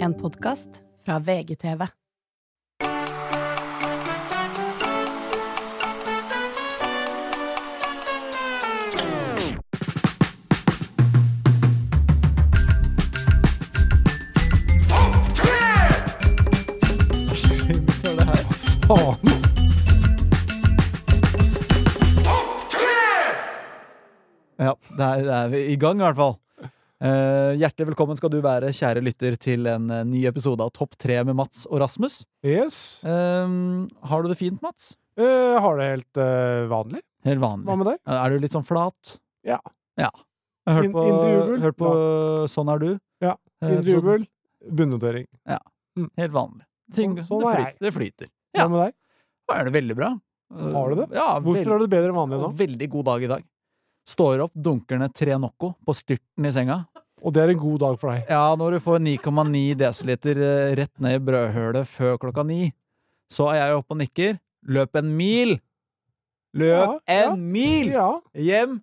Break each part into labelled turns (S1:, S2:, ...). S1: En podkast fra VGTV.
S2: Ja, der er vi i gang i hvert fall. Eh, hjertelig velkommen skal du være, kjære lytter, til en eh, ny episode av Topp tre med Mats og Rasmus.
S3: Yes.
S2: Eh, har du det fint, Mats?
S3: Eh, har det helt eh, vanlig.
S2: Helt
S3: Hva
S2: vanlig.
S3: med deg?
S2: Er du litt sånn flat?
S3: Ja.
S2: Ja. Jeg har
S3: In-
S2: hørt på,
S3: indre jubel?
S2: hørt på Sånn er du.
S3: Ja.
S2: Eh,
S3: Indre
S2: episoden.
S3: jubel, bunnotering.
S2: Helt vanlig. Ting,
S3: Sånn- sånn
S2: det,
S3: er
S2: flyter, det flyter. Ja.
S3: Hva med deg?
S2: Da er det veldig bra. Eh,
S3: Har du det?
S2: Ja,
S3: Hvorfor har du det bedre enn vanlig nå?
S2: Og veldig god dag i dag. Står opp, dunker ned tre Nocco på styrten i senga.
S3: Og det er en god dag for deg.
S2: Ja, når du får 9,9 dl eh, rett ned i brødhølet før klokka ni, så er jeg oppe og nikker. Løp en mil! Løp
S3: Ja, ja.
S2: en mil!
S3: Ja.
S2: Hjem!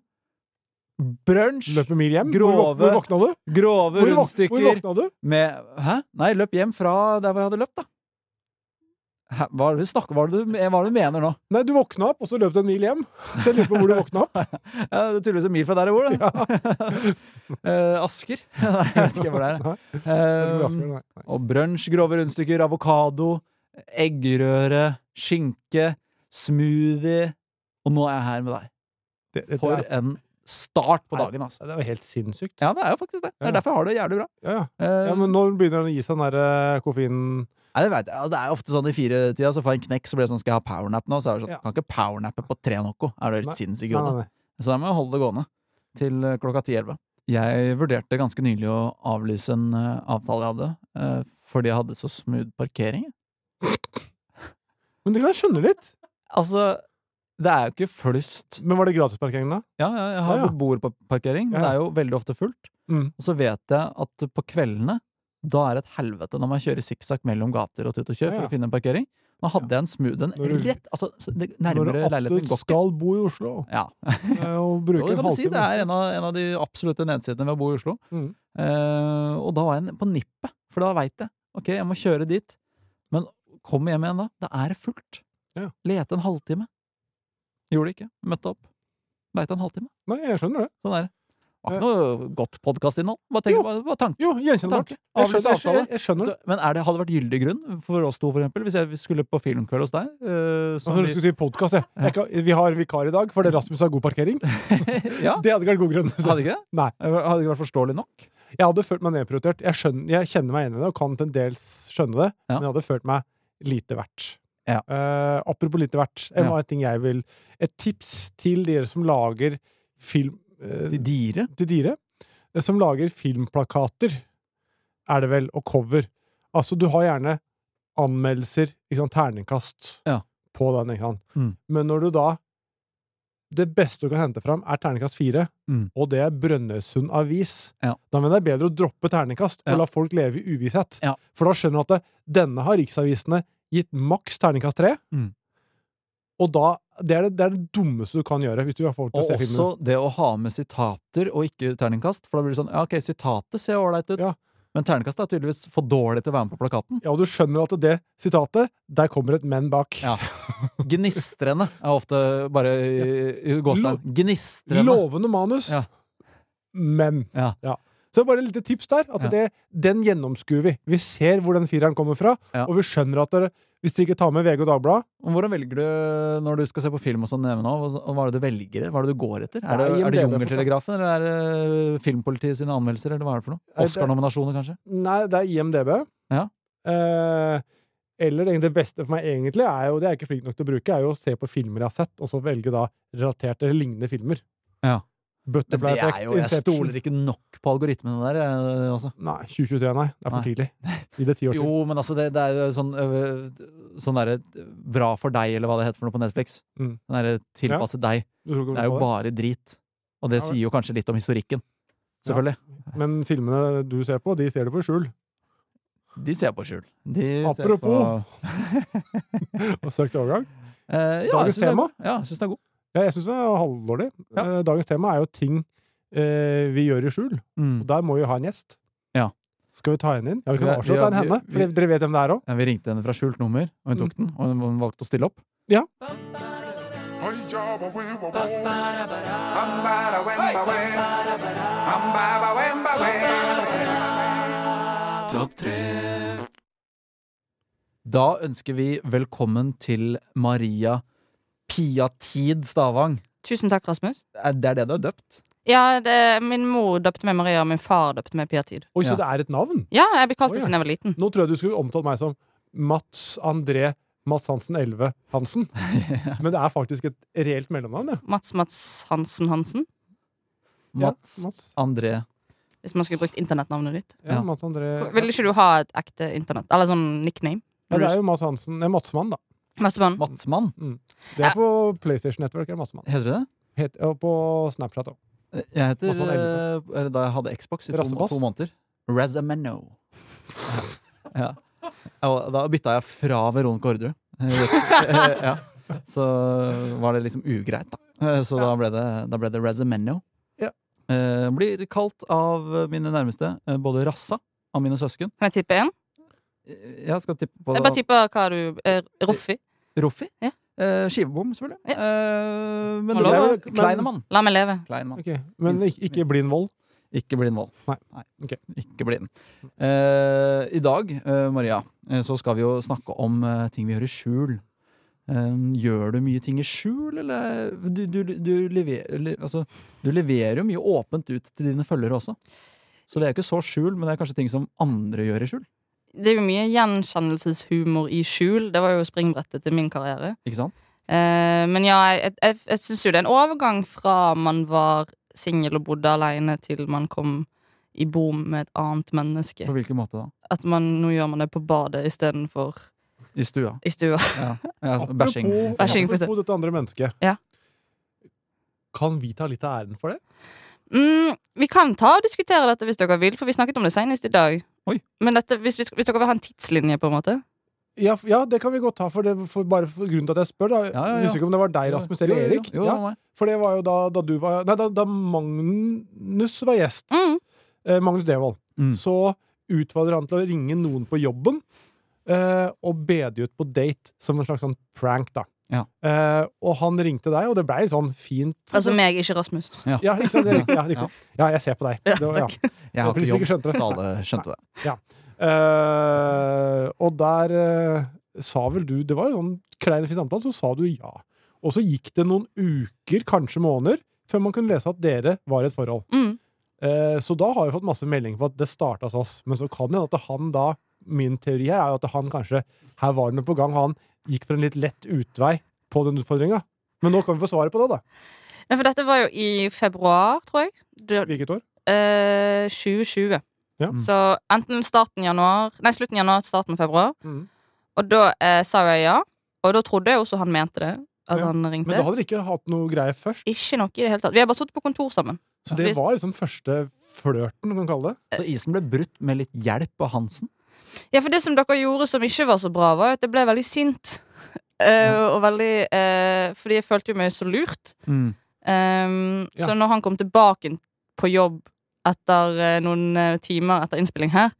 S2: Brunsj!
S3: Løper mil hjem.
S2: Grove.
S3: Hvor, våk- hvor våkna du?
S2: Grove
S3: Hvor, våk- hvor
S2: rundstykker
S3: våkna du?
S2: med Hæ? Nei, løp hjem fra der hvor jeg hadde løpt, da. Hæ? Hva er det du snakker Hva er det du, hva er det du mener nå?
S3: Nei, du våkna opp, og så løp du en mil hjem. Så jeg lurer på hvor du våkna opp.
S2: Ja, det er tydeligvis en mil fra der jeg bor, da. Eh, Asker? Nei, jeg vet ikke hvor det er.
S3: Nei, jeg tror det er
S2: Eh,
S3: Asker, nei. Nei.
S2: Og brunsj, grove rundstykker, avokado, eggerøre, skinke, smoothie. Og nå er jeg her med deg.
S3: Det, det,
S2: For
S3: det,
S2: en start på dagen, altså.
S3: er, det var helt sinnssykt.
S2: Ja, det er jo faktisk det. Det er
S3: Ja.
S2: derfor jeg har det jævlig bra.
S3: Ja, ja.
S2: Eh,
S3: ja, men nå begynner den å gi seg den der eh, koffeinen
S2: nei, det, vet jeg. Ja, det er ofte sånn i firetida, så får jeg en knekk, så blir det sånn skal jeg ha powernap nå? Så er det sånn,
S3: Ja.
S2: kan ikke powernappe på tre noe. Er du helt
S3: Nei.
S2: sinnssyk i
S3: Nei,
S2: hodet?
S3: nei, nei.
S2: Så da må jeg holde det gående til eh, klokka 10-11. Jeg vurderte ganske nylig å avlyse en eh, avtale jeg hadde, eh, fordi jeg hadde så smooth parkering.
S3: Men det kan jeg skjønne litt.
S2: Altså, det er jo ikke flust
S3: Men var det gratisparkeringen, da?
S2: Ja, ja, jeg har
S3: Ja, ja.
S2: beboerparkering, men
S3: Ja.
S2: det er jo veldig ofte fullt.
S3: Mm.
S2: Og så vet jeg at på kveldene, da er det et helvete når man kjører sikksakk mellom gater og tut og kjør
S3: Ja, ja.
S2: for å finne en parkering. Nå hadde jeg en smooth en
S3: Når du-
S2: rett altså, så det,
S3: Når du
S2: Nærmere leiligheten min går
S3: absolutt
S2: ikke.
S3: skal bo i Oslo
S2: Ja.
S3: eh, og
S2: Jo,
S3: bruke
S2: det
S3: en
S2: kan du si. Det
S3: halvtime
S2: er en av, en av de absolutte nedsidene ved å bo i Oslo.
S3: Mm.
S2: Eh, og da var jeg på nippet, for da veit jeg. Ok, jeg må kjøre dit. Men kom hjem igjen da. Da er det fullt.
S3: Ja.
S2: Lete en halvtime. Gjorde det ikke. Møtte opp. Leite en halvtime.
S3: Nei, jeg skjønner det.
S2: Sånn er det. Det var ikke noe godt podkastinnhold. Hva tenker
S3: Jo.
S2: hva- hva tanken?
S3: Jo, gjenkjennbart.
S2: Tanke.
S3: Jeg
S2: Avlyse
S3: skjønner, jeg,
S2: avtale.
S3: skjønner- jeg skjønner det.
S2: Men er det, hadde det vært gyldig grunn for oss to, for eksempel? Hvis jeg skulle på filmkveld hos deg? eh,
S3: Jeg
S2: som
S3: trodde du
S2: vi-
S3: skulle si podcast, jeg. jeg. kan- Vi har vikar i dag, fordi Rasmus har god parkering.
S2: ja,
S3: Det hadde ikke vært god grunn. Så
S2: hadde ikke det?
S3: Nei.
S2: Hadde ikke vært forståelig nok?
S3: Jeg hadde følt meg nedprioritert. Jeg, skjønner, jeg kjenner meg igjen i det, og kan til dels skjønne det,
S2: Ja.
S3: men jeg hadde følt meg lite verdt.
S2: Ja.
S3: Eh, apropos lite verdt,
S2: Ja.
S3: en annen ting jeg vil Et tips til dere som lager film eh,
S2: De dire?
S3: til dere, eh, som lager filmplakater, er det vel, og cover. Altså, du har gjerne anmeldelser, ikke sant, terningkast
S2: Ja.
S3: på den, ikke sant.
S2: Mm.
S3: Men når du da Det beste du kan hente fram, er terningkast fire,
S2: Mm.
S3: og det er Brønnøysund Avis.
S2: Ja.
S3: Da mener jeg det er bedre å droppe terningkast
S2: Ja.
S3: og la folk leve i uvisshet.
S2: Ja.
S3: For da skjønner du at det, denne har riksavisene gitt maks terningkast tre.
S2: Mm.
S3: Og da, det, er det, det er det dummeste du kan gjøre. Hvis du har folk til å
S2: Og
S3: se filmen.
S2: også det å ha med sitater og ikke terningkast. For da blir det sånn ja, ok, sitatet ser ålreit ut,
S3: Ja.
S2: men terningkast er tydeligvis for dårlig til å være med på plakaten.
S3: Ja, og du skjønner at det sitatet Der kommer et men bak.
S2: Ja. Gnistrende er ofte bare i- i gåstegn. Gnistrende.
S3: Lovende manus,
S2: Ja.
S3: men.
S2: Ja.
S3: Så bare et lite tips der. At
S2: Ja.
S3: det, den gjennomskuer vi. Vi ser hvor den fireren kommer fra,
S2: Ja.
S3: og vi skjønner at dere, hvis dere ikke tar med VG og Dagbladet
S2: Og Hvordan velger du når du skal se på film og sånn hjemme nå? Hva hva er det du velger? Hva er det du går etter? Er det,
S3: Nei,
S2: er det
S3: IMDb
S2: Jungeltelegrafen, eller er det Filmpolitiet sine anmeldelser, eller hva er det for noe?
S3: Nei, det-
S2: Oscar-nominasjoner, kanskje?
S3: Nei, det er IMDb.
S2: Ja.
S3: Eh, eller egentlig det beste for meg egentlig er jo, det er jeg ikke flink nok til å bruke, er jo å se på filmer jeg har sett, og så velge da relaterte eller lignende filmer.
S2: Ja. Men
S3: Butterfly
S2: det er
S3: Effect,
S2: jo, jeg
S3: Inception
S2: stoler ikke nok på algoritmene der, eh, altså.
S3: Nei, 2023, nei. Det er for
S2: Nei.
S3: tidlig. Gi det ti år
S2: Jo,
S3: til.
S2: men altså, det, det er jo sånn øh, Sånn derre Bra for deg, eller hva det heter for noe på Netflix.
S3: Mm.
S2: Den derre tilpasse deg.
S3: Du tror ikke
S2: Det er jo
S3: på
S2: bare drit. Og det
S3: Ja, vel.
S2: sier jo kanskje litt om historikken.
S3: Ja.
S2: Selvfølgelig.
S3: det? Men filmene du ser på, de ser du på i skjul.
S2: De ser på skjul. De ser på-
S3: Apropos. Og søkt overgang.
S2: Eh, ja, jeg
S3: Dagens
S2: synes det er-
S3: tema?
S2: Ja, jeg syns det er god.
S3: Ja, jeg syns det er halvdårlig.
S2: Ja.
S3: Eh, Dagens tema er jo ting eh, vi gjør i skjul. Og der må vi ha en gjest. Skal vi ta henne inn? Ja,
S2: Mm. Skal
S3: vi kan
S2: vi-
S3: avslå at det
S2: ja,
S3: er
S2: vi-
S3: henne. For
S2: vi-
S3: dere vet hvem det er òg.
S2: Ja, vi ringte henne fra skjult nummer, og hun
S3: Mm.
S2: tok den. Og hun valgte å stille opp. Da ønsker vi velkommen til Maria Piatid Stavang.
S4: Tusen takk, Rasmus.
S2: Er Det er det du har døpt?
S4: Ja, det, Min mor døpte meg Maria, og min far døpte meg Piatid.
S3: Oi,
S2: Ja.
S3: så det er et navn!
S4: Ja, jeg ble kalt
S3: Å,
S4: det
S3: ja.
S4: siden jeg var liten.
S3: Nå tror jeg du skulle omtalt meg som Mats André Mats Hansen 11 Hansen. Men det er faktisk et reelt mellomnavn, ja.
S4: Mats Mats Hansen Hansen.
S2: Mats
S3: Ja, Mats.
S2: André.
S4: Hvis man skulle brukt internettnavnet ditt.
S3: Ja,
S2: Ja.
S3: Mats André
S4: Vil ikke du ha et ekte internett? Eller sånn nickname?
S3: ja, Det er jo Mats Hansen Nei, Matsmann, da.
S4: Matsemann.
S2: Matsmann,
S3: Det er på PlayStation Network. Er det Matsmann.
S2: heter det det?
S3: Het, og på Snapchat òg.
S2: Jeg heter
S3: Matsmann
S2: eh, eller Da jeg hadde Xbox i to,
S3: Rassebass.
S2: to måneder. Razameno. ja. Og da bytta jeg fra Veronica Orderud. Eh, ja. Så var det liksom ugreit, da. Eh, Så da ble det, da ble det Razameno.
S3: Ja.
S2: Eh, blir kalt av mine nærmeste eh, både Rassa av mine søsken
S4: Kan jeg tippe én?
S2: Eh, Jeg skal tippe på
S4: Jeg bare tipper hva du er Roffi.
S2: Roffi.
S4: Ja.
S2: Eh, skivebom, selvfølgelig.
S4: Ja.
S2: Eh, men
S4: Hallo.
S2: det er jo
S3: Men-
S2: Kleinemann.
S4: La meg leve.
S2: Kleinemann.
S3: Men ikke, ikke blind vold.
S2: Ikke blind vold.
S3: Nei. Ok.
S2: Ikke blind. Eh, I dag, eh, Maria, eh, så skal vi jo snakke om eh, ting vi gjør i skjul. Eh, gjør du mye ting i skjul, eller du, du, du, lever, eller, altså, du leverer jo mye åpent ut til dine følgere også. Så det er ikke så skjul, men det er kanskje ting som andre gjør i skjul.
S4: Det er jo mye gjenkjennelseshumor i skjul. Det var jo springbrettet til min karriere.
S2: Ikke sant?
S4: Eh, men ja, jeg, jeg, jeg syns jo det er en overgang fra man var singel og bodde aleine, til man kom i bo med et annet menneske.
S2: På hvilken måte da?
S4: At man, nå gjør man det på badet istedenfor
S2: I stua.
S4: i stua.
S2: Ja. Ja, bashing.
S3: Apropos-
S4: Bashing, for
S3: Apropos dette andre mennesket.
S4: Ja.
S3: Kan vi ta litt av æren for det?
S4: Mm, vi kan ta og diskutere dette hvis dere vil, for vi snakket om det senest i dag.
S2: Oi.
S4: Men dette, hvis, hvis, hvis dere vil ha en tidslinje, på en måte
S3: Ja, f- ja det kan vi godt ta, for, det, for bare for grunnen til at jeg spør. da
S2: ja, ja.
S3: Jeg husker ikke om det var deg, Rasmus, eller
S2: Jo, jo, jo.
S3: Erik.
S2: Jo,
S3: Ja,
S2: det var meg.
S3: for det var jo da, da du var Nei, da, da Magnus var gjest.
S4: mm.
S3: eh, Magnus Devold,
S2: Mm.
S3: så utfordrer han til å ringe noen på jobben eh, og be de ut på date, som en slags sånn prank, da.
S2: Ja.
S3: Eh, og han ringte deg, og det ble litt sånn fint.
S4: Altså meg, ikke Rasmus.
S3: Ja, ikke sant? Det, er riktig, ja, riktig. ja, jeg ser på deg. Det var- ja.
S2: Jeg har
S3: For
S2: ikke
S3: de som
S2: jobb,
S3: ikke skjønte det.
S2: så alle skjønte det.
S3: Eh, og der eh, sa vel du Det var en sånn klein fin samtale, så sa du ja. Og så gikk det noen uker, kanskje måneder, før man kunne lese at dere var i et forhold.
S4: Mm.
S3: Eh, Så da har vi fått masse melding på at det starta hos oss. Men så kan det hende at han da Min teori her er jo at han kanskje Her var det noe på gang, og han gikk for en litt lett utvei på den utfordringa. Men nå kan vi få svaret på det, da.
S4: Nei, for dette var jo i februar, tror jeg. Det-
S3: Hvilket år?
S4: eh, 2020.
S3: Ja.
S2: Mm.
S4: Så enten starten januar Nei, slutten januar, starten februar.
S3: Mm.
S4: Og da eh, sa jeg ja. Og da trodde jeg også han mente det. At
S3: Ja,
S4: han
S3: Men
S4: ringte.
S3: da hadde dere ikke hatt noe greie først.
S4: Ikke noe i det hele tatt. Vi har bare sittet på kontor sammen.
S3: Så det var liksom første flørten, kan man kalle det.
S2: Så isen ble brutt med litt hjelp av Hansen.
S4: Ja, for det som dere gjorde som ikke var så bra, var jo at jeg ble veldig sint. Eh, Og veldig eh, Fordi jeg følte jo meg så lurt. Ehm,
S3: Ja.
S4: Så når han kom tilbake på jobb etter eh, noen eh, timer etter innspilling her,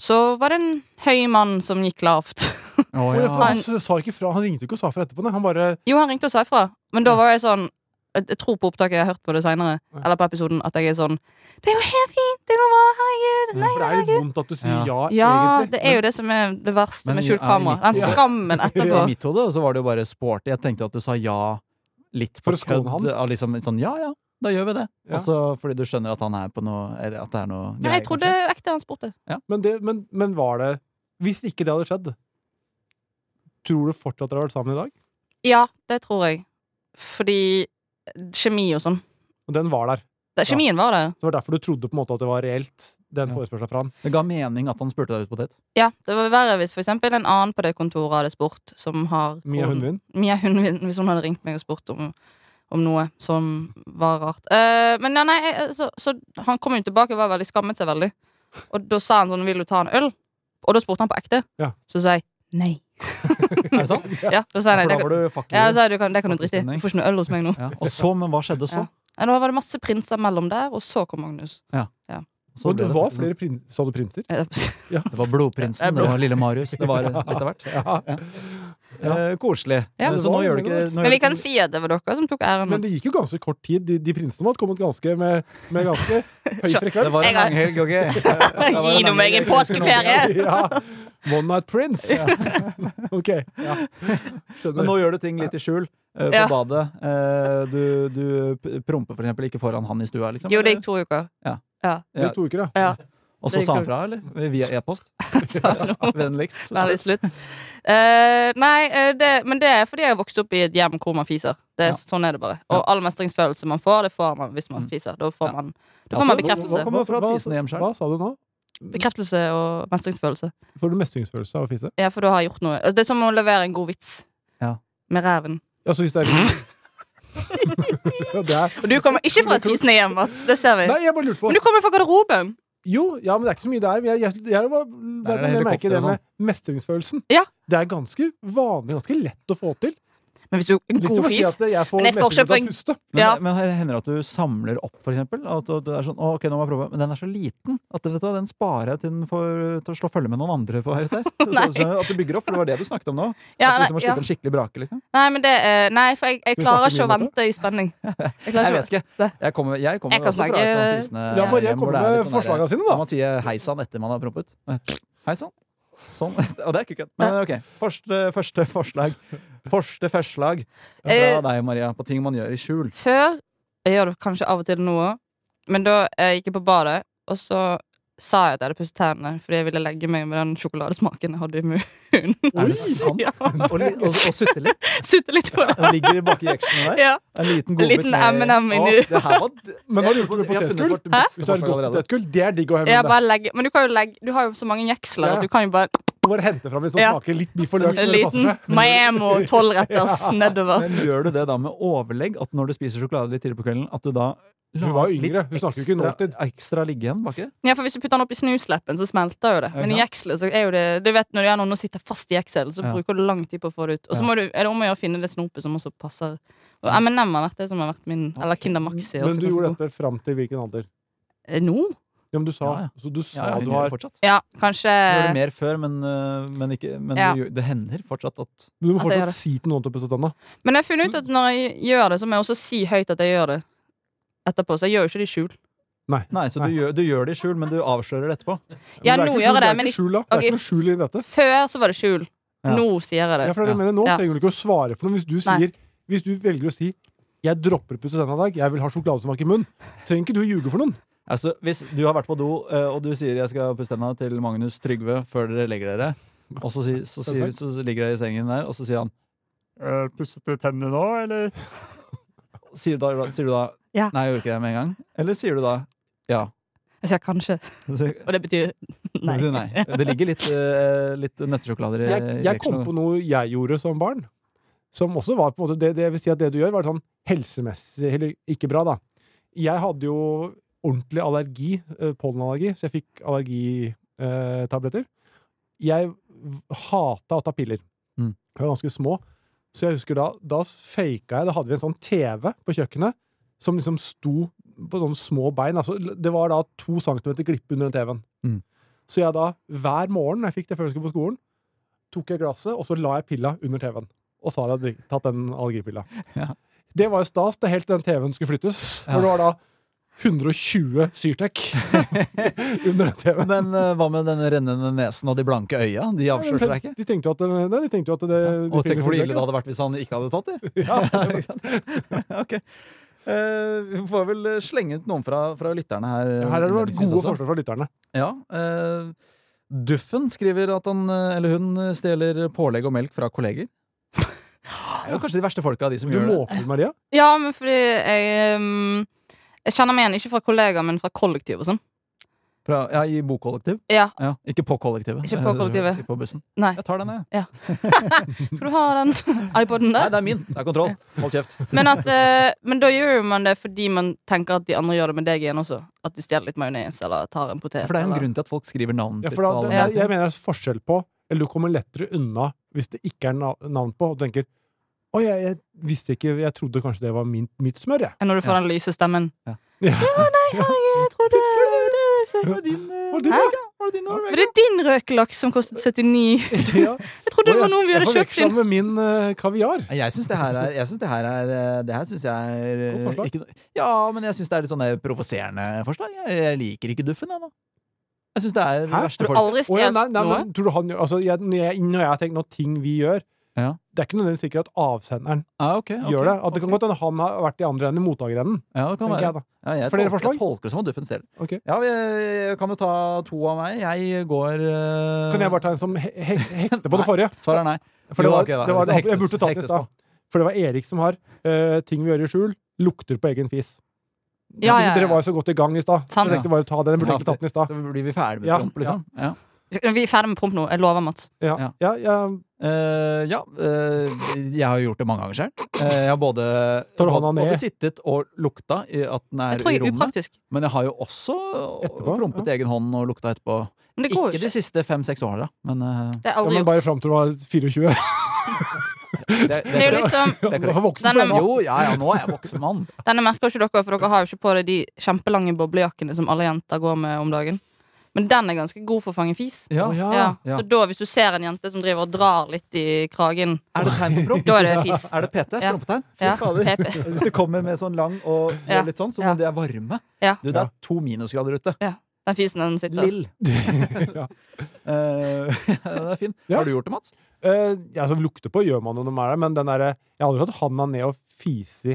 S4: så var det en høy mann som gikk lavt.
S2: Å,
S3: Og jeg- for
S2: ja.
S3: han, s- sa ikke fra, han ringte ikke og sa fra etterpå. Nei. Han bare
S4: Jo, han ringte og sa ifra, men da var jeg sånn jeg jeg tror på opptaket, jeg har hørt på det senere,
S3: Ja.
S4: eller på episoden, at jeg er sånn Det går helt fint! Det går bra! Herregud! Nei,
S3: For det er litt vondt at du sier ja,
S4: ja,
S3: egentlig.
S4: det er jo det som er det verste
S2: Men
S4: med
S2: i-
S4: skjult kamera.
S2: er
S4: Den
S2: mitt-
S4: skammen etterpå.
S2: I mitt hode så var det jo bare sporty. Jeg tenkte at du sa ja litt
S3: For
S2: på
S3: å skåne
S2: kødd.
S3: han.
S2: og Liksom, sånn, ja, ja, da gjør vi det.
S3: Ja.
S2: Altså, fordi du skjønner at han er på noe Eller at det er noe
S4: Men jeg trodde ekte han spurte.
S3: Men, det, men, men var det Hvis ikke det hadde skjedd, tror du fortsatt dere hadde vært sammen i dag?
S4: Ja, det tror jeg. Fordi kjemi og sånn.
S3: Og den var der.
S4: Det-
S3: Ja.
S4: Kjemien var der.
S3: Så det var derfor du trodde på en måte at det var reelt, den
S2: Ja.
S3: forespørselen fra han.
S2: kanskje. Det ga mening at han spurte deg ut på date.
S4: Ja, Det var verre hvis for eksempel en annen på det kontoret hadde spurt, som har
S3: Mia Hundvin.
S4: Mia Hundvin, hvis hun hadde ringt meg og spurt om, om noe som var rart. Eh, men ja, nei, jeg- så, så han kom jo tilbake og var veldig skammet seg veldig. Og da sa han sånn 'Vil du ta en øl?' Og da spurte han på ekte.
S3: Ja.
S4: Så sa jeg nei.
S2: Er det sant?
S4: Ja, da sa jeg nei.
S2: For da
S4: Det
S2: var
S4: kan,
S2: du fuckler.
S4: ja, altså- så, du kan, det kan du drite i. Du
S2: Fakkelstemning.
S4: får ikke noe øl hos meg nå.
S2: Ja. Og så, men hva skjedde så?
S4: Ja. Ja, da var det masse prinser mellom der, og så kom Magnus.
S2: Så
S3: og
S2: ble sånn.
S3: det var
S2: faktisk-
S3: flere prin sa du prinser.
S4: Eh,
S2: Det var Blodprinsen, det var Lille Marius, det var litt av hvert.
S3: Ja.
S2: Eh, koselig.
S4: Ja.
S2: Eh, så nå gjør du ikke nå
S4: Men
S2: gjør
S4: vi
S2: du
S4: kan
S2: ikke-
S4: si at det var dere som tok æren.
S3: Men det
S4: hans.
S3: gikk jo ganske kort tid. De, de prinsene måtte kommet ganske med, med ganske høy
S2: Det
S3: frekvens.
S2: var en
S4: Jeg har-
S2: lang helg, ok? Eh,
S4: Gi nå meg en påskeferie!
S3: ja. One Night Prince. Ok. Ja.
S2: Men
S3: Skjønner.
S2: nå gjør du ting litt i skjul eh, på
S4: Ja.
S2: badet. Eh, du du p- promper for eksempel ikke foran han i stua, liksom.
S4: Jo, det gikk to uker.
S3: Det gikk to uker, ja.
S4: Ja.
S2: Og så
S4: det gikk
S2: sa han
S4: to-
S2: fra, eller? Via e-post?
S4: Sa han noe.
S2: Vennligst.
S4: Veldig slutt. Eh, nei, eh, det, men det er fordi jeg vokste opp i et hjem hvor man fiser. Det, er-
S2: Ja.
S4: Sånn er det bare.
S2: Ja.
S4: Og all mestringsfølelse man får, det får man hvis man
S2: Mm.
S4: fiser. Da får
S2: Ja.
S4: man, da
S2: Ja,
S4: får man
S2: så-
S4: bekreftelse.
S2: hva- hva- kommer fra at fisen er hjemskjær.
S3: Hva sa du nå?
S4: Bekreftelse og mestringsfølelse.
S3: Får du mestringsfølelse av å fise?
S4: Ja, for da har jeg gjort noe. Altså, Det er som å levere en god vits.
S2: Ja.
S4: Med ræven.
S3: Ja, så hvis det er ja, det er...
S4: Og du kommer ikke fra et fisende hjem, Mats. Det ser vi.
S3: Nei, jeg bare lurte på
S4: Men du kommer fra garderoben.
S3: Jo, ja, men det er ikke så mye der. Men jeg, jeg, jeg, var-
S2: Der er det
S3: jeg merker
S2: helikopter
S3: det
S2: og sånn.
S3: med mestringsfølelsen.
S4: Ja.
S3: Det er ganske vanlig, ganske lett å få til.
S4: Men hvis du en
S3: Litt som
S4: god
S3: å si
S4: fis
S3: at jeg får
S4: Men jeg får
S3: mestringsfølelse
S4: kjøpe en-
S3: av å puste.
S2: Men,
S4: Ja.
S2: men det hender at du samler opp, for eksempel? At du, du er sånn, å, ok, nå må jeg prøve Men den er så liten at vet du, hva, den sparer jeg til den får til å slå følge med noen andre på vei ut der. Så,
S4: Nei.
S2: så, at du bygger opp, for det var det du snakket om nå.
S4: ja, nei,
S2: at du liksom må
S4: ja.
S2: slippe en skikkelig brake, liksom.
S4: nei, men det er eh, Nei, for jeg, jeg
S3: Skal vi
S4: klarer
S3: snakke
S4: ikke å
S3: mye om
S4: vente i spenning. Jeg
S2: Jeg
S4: klarer
S2: vet
S4: ikke
S2: ikke. Jeg kommer, jeg kommer
S4: Jeg kan
S2: også fra et sånt
S4: snakke-
S2: fisende
S3: Ja, Maria
S2: hjem hvor det
S3: kommer
S2: er
S3: med
S2: litt sånn der-
S3: forslagene sine,
S2: Da
S3: da.
S2: man sier hei sann etter man har prompet. Hei sann. Sånn. Og det er ikke kødd. Men ok, første, første forslag. Første forslag fra
S4: Eh.
S2: deg, Maria, på ting man gjør i skjul.
S4: Før Jeg gjør det kanskje av og til nå òg, men da eh, gikk jeg på badet, og så sa jeg at jeg hadde pusset tennene fordi jeg ville legge meg med den sjokoladesmaken jeg hadde i munnen.
S2: Er det sant?
S4: Ja.
S2: Og, li- og, og sutte litt.
S4: Sutte litt på det.
S2: Den ligger baki jeksjene der.
S4: Ja.
S2: En liten
S4: En
S2: godbit
S4: liten
S2: ned-
S4: M&M
S2: Å,
S4: inni.
S2: Det her var d-
S3: Men har du
S2: jeg-
S3: gjort det med
S2: jeg har funnet
S3: potetgull?
S2: vårt beste
S3: Hvis du har et
S2: forslag
S3: godt
S2: allerede.
S3: potetgull, det er digg å ha
S4: Ja,
S3: med deg.
S4: bare legge. Men du, kan jo legge, du har jo så mange jeksler.
S3: Ja.
S4: at Du kan jo bare
S3: Bare hente fram litt som
S4: Ja.
S3: smaker litt biff og løk.
S4: En
S3: når det passer
S4: liten
S3: seg.
S4: Miami tolvretters nedover.
S2: Men gjør du det da med overlegg, at når du spiser sjokolade litt tidlig på kvelden, at du da
S3: Hun var jo yngre, hun snakker jo ikke
S2: ekstra,
S3: nåtid.
S2: ekstra ligge igjen baki?
S4: Ja, for Hvis du putter den opp i snusleppen, så smelter jo det. Men i
S2: Ja.
S4: jekslet så er jo det Du vet når det er noen som sitter fast i jekselen, så
S2: Ja.
S4: bruker du lang tid på å få det ut. Og så
S2: Ja.
S4: må du, er det om å gjøre å finne det snopet som også passer. Og M&M har vært det som har vært min Eller Kinder Maxi. er
S3: Men
S4: også
S3: du
S4: ganske
S3: gjorde
S4: god.
S3: dette fram til hvilken alder?
S4: Eh, Nå?
S3: Ja, men du sa,
S2: Ja, ja.
S3: Så du, sa
S2: Ja, hun gjør
S3: du
S2: det
S3: har
S2: fortsatt.
S4: Ja, kanskje
S2: Hun gjør det
S3: Eh.
S2: mer før, men, øh, men, ikke, men
S4: Ja.
S2: det gjør- det hender fortsatt at
S3: Du må
S4: At jeg gjør
S3: fortsatt
S4: det.
S3: si til noen til å pusse tenna.
S4: Men jeg har funnet ut at når jeg gjør det, så må jeg også si høyt at jeg gjør det etterpå. Så jeg gjør jo ikke det i skjul.
S2: Nei, så du
S3: Nei.
S2: gjør, du gjør det i skjul, men du avslører det etterpå.
S4: Ja,
S3: Men det er
S4: nå
S3: ikke
S4: gjør jeg
S3: skjul-
S4: det, men ikke-
S3: Det er ikke skjul, da. Det er
S4: ok.
S3: ikke noe skjul i dette.
S4: Før så var det skjul.
S2: Ja.
S4: Nå sier jeg
S3: Ja,
S4: det.
S3: for det er det jeg mener nå
S4: Ja.
S3: trenger du ikke å svare for noe. Hvis du, sier, hvis du velger å si 'jeg dropper å pusse tenna i dag, jeg vil ha sjokoladesmak i munnen', trenger ikke du å ljuge for noen.
S2: Altså, Hvis du har vært på do, øh, og du sier 'jeg skal pusse tenna' til Magnus Trygve før dere legger dere, og så, si, så, sier, så ligger dere i sengen der, og så sier han
S5: Pusset Eh, du tennene nå, eller?
S2: Sier du da, sier du da
S4: Ja.
S2: 'nei, jeg gjorde ikke det med en gang'? Eller sier du da 'ja'?
S4: Jeg sier kanskje.
S2: Så-
S4: Og det betyr nei.
S2: Du, nei. Det ligger litt, øh, litt nøttesjokolader i
S3: Jeg,
S2: i
S3: jeg kom
S2: leksjonen.
S3: på noe jeg gjorde som barn, som også var på en måte Det, det vil si at det du gjør, var sånn helsemessig eller ikke bra, da. Jeg hadde jo ordentlig allergi, eh, pollenallergi, så jeg fikk allergitabletter. Jeg v- hata å ta piller.
S2: Mm.
S3: Jeg var ganske små. Så jeg husker da, da faka jeg Da hadde vi en sånn TV på kjøkkenet som liksom sto på sånne små bein. Altså, det var da to centimeter glippe under den TV-en.
S2: Mm.
S3: Så jeg da, hver morgen når jeg fikk det før jeg skulle på skolen, tok jeg glasset, og så la jeg pilla under TV-en. Og så hadde jeg drikk- tatt den allergipilla.
S2: Ja.
S3: Det var jo stas, det helt til den TV-en skulle flyttes. For det var da 120 Syrtec under den TV-en.
S2: Men øh, hva med den rennende nesen og de blanke øya? De avslørte deg ikke?
S3: De tenkte jo at, det- nei, de tenkte jo at det
S2: Og tenk hvor
S3: de-
S2: ille det hadde vært hvis han ikke hadde tatt det.
S3: Ja,
S2: Ja, ikke sant? ok. Eh, vi får vel eh, slenge ut noen fra, fra lytterne her. eh,
S3: Her har det vært
S2: innledningsvis
S3: gode
S2: også.
S3: forslag fra lytterne.
S2: Ja, eh, Duffen skriver at han eh, eller hun eh, stjeler pålegg og melk fra kolleger. Det er jo kanskje de verste folka, de som
S3: Du
S2: gjør det.
S3: måper, Maria.
S4: Ja, men fordi jeg ehm, Jeg kjenner meg igjen ikke fra kollegaer, men fra kollektiv og sånn.
S2: Fra, ja, I bokollektiv.
S4: Ja.
S2: Ja, ikke på kollektivet.
S4: Ikke på
S2: Eh,
S4: kollektivet.
S2: ikke På bussen.
S4: Nei.
S2: Jeg tar den, jeg.
S4: Skal du ha den iPoden
S2: Nei,
S4: der?
S2: det er min. Det er kontroll. Hold kjeft.
S4: Men, at, eh, men da gjør jo man det fordi man tenker at de andre gjør det med deg igjen også. At de stjeler litt majones eller tar en potet.
S2: For det er en
S4: eller-
S2: grunn til at folk skriver navnet
S3: Ja,
S2: sitt.
S3: for da,
S2: på
S3: det,
S2: alle
S3: jeg,
S2: navn.
S3: mener det er forskjell på Eller du kommer lettere unna hvis det ikke er nav- navn på, og du tenker Å, jeg, jeg visste ikke Jeg trodde kanskje det var min, mitt smør, jeg.
S4: Enn Når du får
S2: Ja.
S4: den lyse stemmen.
S2: Ja.
S4: Ja, nei, jeg, jeg trodde det
S2: se, var det din eh,
S3: Var det din,
S2: Hæ? Var det din
S4: Men det er din røkelaks som kostet 79.
S3: Ja.
S4: Jeg trodde det var noen vi hadde
S3: Jeg
S4: kjøpt
S3: forveksla
S4: inn.
S3: den med min eh, kaviar.
S2: Nei, Jeg syns det her er Jeg synes det her er eh, Det her syns jeg er eh,
S3: Godt forslag.
S2: ikke noe- Ja, men jeg syns det er litt sånn eh, provoserende forslag. Jeg, jeg liker ikke Duffen, jeg nå. Jeg syns det er det
S3: Hæ?
S2: verste
S4: Har du
S2: folk
S4: aldri
S3: Å, ja,
S4: stjålet
S3: nei, nei,
S4: noe?
S3: men tror du han gjør altså, jeg, Når jeg når jeg tenker noe ting vi gjør
S2: Ja.
S3: Det er ikke nødvendigvis sikkert at avsenderen
S2: ah, ok, ok,
S3: gjør det. At det kan
S2: ok.
S3: godt hende han har vært i andre enden, i mottakerenden.
S2: Ja, det kan
S3: tenker
S2: være.
S3: jeg da.
S2: Ja, jeg
S3: Flere
S2: tolker,
S3: forslag?
S2: Jeg tolker det som at Duffen ser det.
S3: Ok.
S2: Ja, jeg, kan jo ta to av meg. Jeg går eh,
S3: Kan jeg bare ta en som he he hekter på det forrige?
S2: Svaret er nei.
S3: For det
S2: Jo,
S3: var,
S2: ok, da.
S3: det var,
S2: Hvis det
S3: jeg
S2: hektes-
S3: burde tatt det i
S2: hektes
S3: stad. For det var Erik som har eh, ting vi gjør i skjul, lukter på egen fis.
S4: Ja, ja, ja.
S3: Dere var jo så godt i gang i stad.
S4: Sant.
S3: Jeg tenkte bare å ta den. Jeg burde
S2: Ja.
S3: egentlig tatt den i stad.
S2: Så blir vi ferdig med
S3: Ja,
S2: promp, liksom. Ja.
S4: Vi er ferdig med promp nå. Jeg lover, Mats.
S3: Ja.
S2: Ja.
S3: Ja, ja.
S2: Eh, ja eh, jeg har jo gjort det mange ganger selv. Eh, jeg har både,
S3: Tar du hånda
S2: både, både
S3: ned?
S2: sittet og lukta i at den
S4: Jeg
S2: er
S4: tror
S2: i
S4: jeg er
S2: rommet.
S4: upraktisk.
S2: Men jeg har jo også
S3: Etterpå,
S2: prompet egen hånd og lukta etterpå.
S4: Men det går
S2: Ikke
S4: jo
S2: de
S4: ikke.
S2: siste fem-seks åra, men eh,
S4: Det er
S3: ja,
S4: aldri
S3: men
S4: gjort.
S3: bare fram til du var 24.
S2: det,
S4: Det er jo litt som
S2: Det er
S3: Du var voksen
S4: Den er
S3: før nå.
S2: Jo, ja, ja, nå er jeg voksen mann.
S4: Denne merker ikke dere, for dere har jo ikke på deg de kjempelange boblejakkene som alle jenter går med om dagen. Men den er ganske god for å fange fis.
S2: Ja.
S3: Å,
S4: Ja.
S2: ja.
S4: Så da, hvis du ser en jente som driver og drar litt i kragen,
S2: Er det tegn på promp?
S4: da er det fis.
S2: Er det PT?
S4: Ja.
S2: Prompetegn? Fy
S4: Ja,
S2: fader.
S4: PP.
S2: Hvis det kommer med sånn lang og gjør
S4: Ja.
S2: litt sånn, så
S4: Ja.
S2: må det er varme.
S4: Ja.
S2: Du, det er to minusgrader ute.
S4: Den fisen den sitter.
S2: Lill.
S3: Ja.
S2: Eh, den er fin.
S3: Ja.
S2: Har du gjort det, Mats?
S3: Eh, ja, så lukter på gjør man jo når man er der, men den der, jeg har aldri hatt handa ned og fisi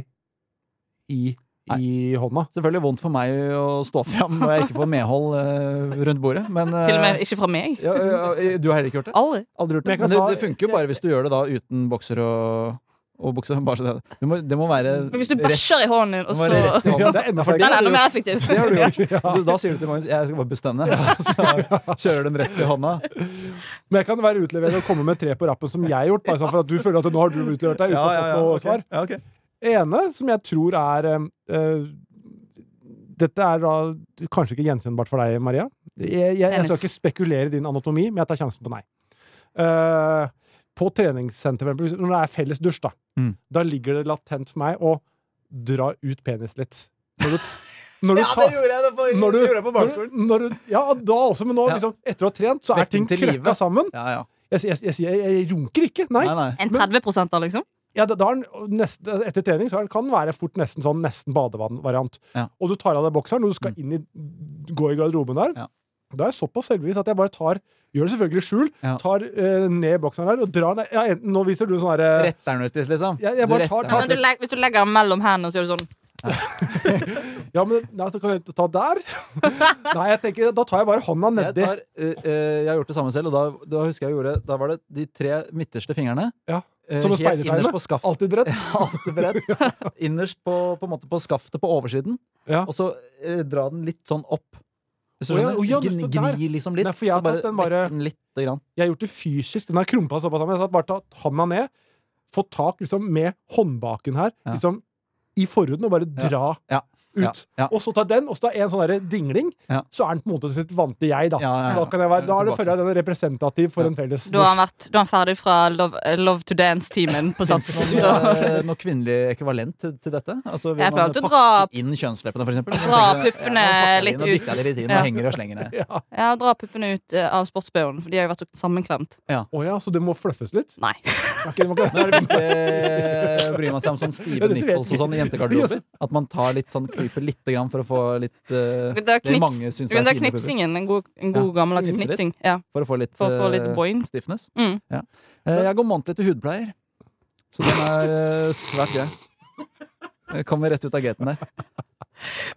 S3: i, i hånda.
S2: Selvfølgelig vondt for meg å stå fram når jeg ikke får medhold eh, rundt bordet, men eh,
S4: Til og med ikke fra meg.
S2: ja, ja, Du har heller ikke gjort det?
S4: Aldri.
S2: Aldri gjort det.
S3: Men jeg kan
S2: Men det,
S3: ta-
S2: det funker jo bare hvis du gjør det da uten bokser og, og bukse. Bare så det. Du må, det må være
S4: Men hvis du
S2: rett-
S4: bæsjer i hånden din, og så
S2: det må være rett i
S3: Ja,
S2: hånden.
S3: det er enda
S4: Den
S2: For
S4: er enda
S3: sterkere.
S4: mer effektiv.
S2: Det har du gjort.
S3: Ja.
S2: Du, da sier du til Magnus jeg skal bare bestemme, så kjører du den rett i hånda.
S3: Men jeg kan være utlevert og komme med tre på rappen som jeg har gjort, bare sånn for at du føler at nå har du utlevert deg uten å ha fått noe
S2: ok.
S3: svar.
S2: Ja, ok.
S3: ene som jeg tror er eh, eh, Dette er da kanskje ikke gjenkjennbart for deg, Maria. Jeg, jeg, jeg skal
S4: Penis.
S3: ikke spekulere i din anatomi, men jeg tar sjansen på nei. Eh, på treningssenter, for eksempel, hvis- når det er felles dusj, da,
S2: Mm.
S3: da ligger det latent for meg å dra ut penis litt. Når du, når du
S2: Ja, det
S3: tar
S2: gjorde jeg da på,
S3: når du,
S2: det gjorde jeg på barneskolen.
S3: Når du, når du, ja, da også, men nå,
S2: Ja.
S3: liksom, etter å ha trent, så er
S2: Vekken
S3: ting
S2: til livet.
S3: krøkka sammen.
S2: Ja, ja.
S3: Jeg, jeg, jeg, jeg, jeg runker ikke, nei.
S2: Nei, nei.
S4: En 30 da, liksom.
S3: Ja, da, da er den neste, etter trening så er den- kan den være fort nesten sånn nesten badevannvariant.
S2: Ja. Mm.
S3: Og du tar av deg bokseren når du skal inn i, gå i garderoben der.
S2: Ja.
S3: Da er jeg såpass selvbevisst at jeg bare tar Gjør det selvfølgelig i skjul.
S2: Ja.
S3: Tar eh, ned bokseren der og drar den ja, enten, Nå viser du sånn herre
S2: Retter den ut litt, liksom.
S3: Jeg- jeg bare
S2: Du retter
S3: tar-
S2: den
S4: Ja,
S2: ut
S3: tar-
S4: men du,
S2: litt.
S4: legger- hvis du legger den mellom hendene, så gjør du sånn.
S3: Ja, men nei, så kan jeg ikke ta der. nei, jeg tenker, da tar jeg bare hånda
S2: jeg,
S3: nedi.
S2: tar, eh, eh, jeg har gjort det samme selv, og da, da husker jeg jeg gjorde Da var det de tre midterste fingrene.
S3: Ja.
S2: eh,
S3: Som å
S2: helt
S3: speidertegne.
S2: Innerst på skaft,
S3: Alltid bredt.
S2: alltid bredt. Innerst på, på, en måte på skaftet på oversiden.
S3: Ja.
S2: Og så eh, dra den litt sånn opp. Hvis du
S3: Å ja,
S2: skjønner?
S3: å ja, du
S2: Gni-
S3: står der.
S2: Gni liksom litt.
S3: Nei, for jeg
S2: så
S3: har tatt den bare-
S2: vekke den lite grann.
S3: Jeg har gjort det fysisk. Den har krumpa såpass sammen. Jeg har bare tatt handa ned, fått tak liksom, med håndbaken her
S2: Ja.
S3: liksom, i forhuden og bare
S2: Ja.
S3: dra
S2: Ja. Ja.
S3: ut.
S2: Ja.
S3: Og så tar den, og så tar en sånn der dingling,
S2: Ja.
S3: så er den på en måte sitt vante jeg, da.
S2: Ja, ja, ja.
S3: Da, kan jeg være, da er det,
S2: Tilbake.
S3: føler jeg den er representativ for
S2: Ja.
S3: en felles
S4: Da er han, vært, da er han ferdig fra Love, eh, love to Dance-teamen på Sats.
S2: Sånn,
S4: Da
S2: eh, noe kvinnelig ekvivalent til, til dette? Altså, vil
S4: Jeg
S2: man
S4: prøvde å
S2: pakke
S4: dra-
S2: inn kjønnsleppene, for eksempel?
S4: Dra
S2: Man tenker, ja,
S4: puppene
S2: man pakker
S4: litt
S2: inn og
S4: ut.
S2: dytter det litt inn
S4: Ja.
S2: og henger og slenger det.
S3: Ja.
S4: Ja, dra puppene ut eh, av sportsbh-en, for de har jo vært så sammenklemt.
S3: Å ja, så det må fluffes litt?
S4: Nei.
S3: Det er ikke- det må ikke-
S2: Nå er det viktig å bry man seg om sånn
S3: Ja,
S2: stive
S3: dette vet
S2: nipples og
S3: jeg.
S2: sånn i jentegarderober. At man tar litt sånn klyper lite grann for å få litt eh,
S4: Da
S2: Det
S4: knips,
S2: mange syns
S4: men
S2: er
S4: da
S2: fine
S4: knipsingen. En god, en god
S2: Ja,
S4: gammeldags
S2: knipse litt.
S4: knipsing. Ja,
S2: For å få litt,
S4: for å få litt
S2: eh,
S4: boing.
S2: stiffness.
S4: Mm.
S2: Eh, jeg går månedlig til hudpleier, så den er eh, svært grei. Jeg Kommer rett ut av gaten der.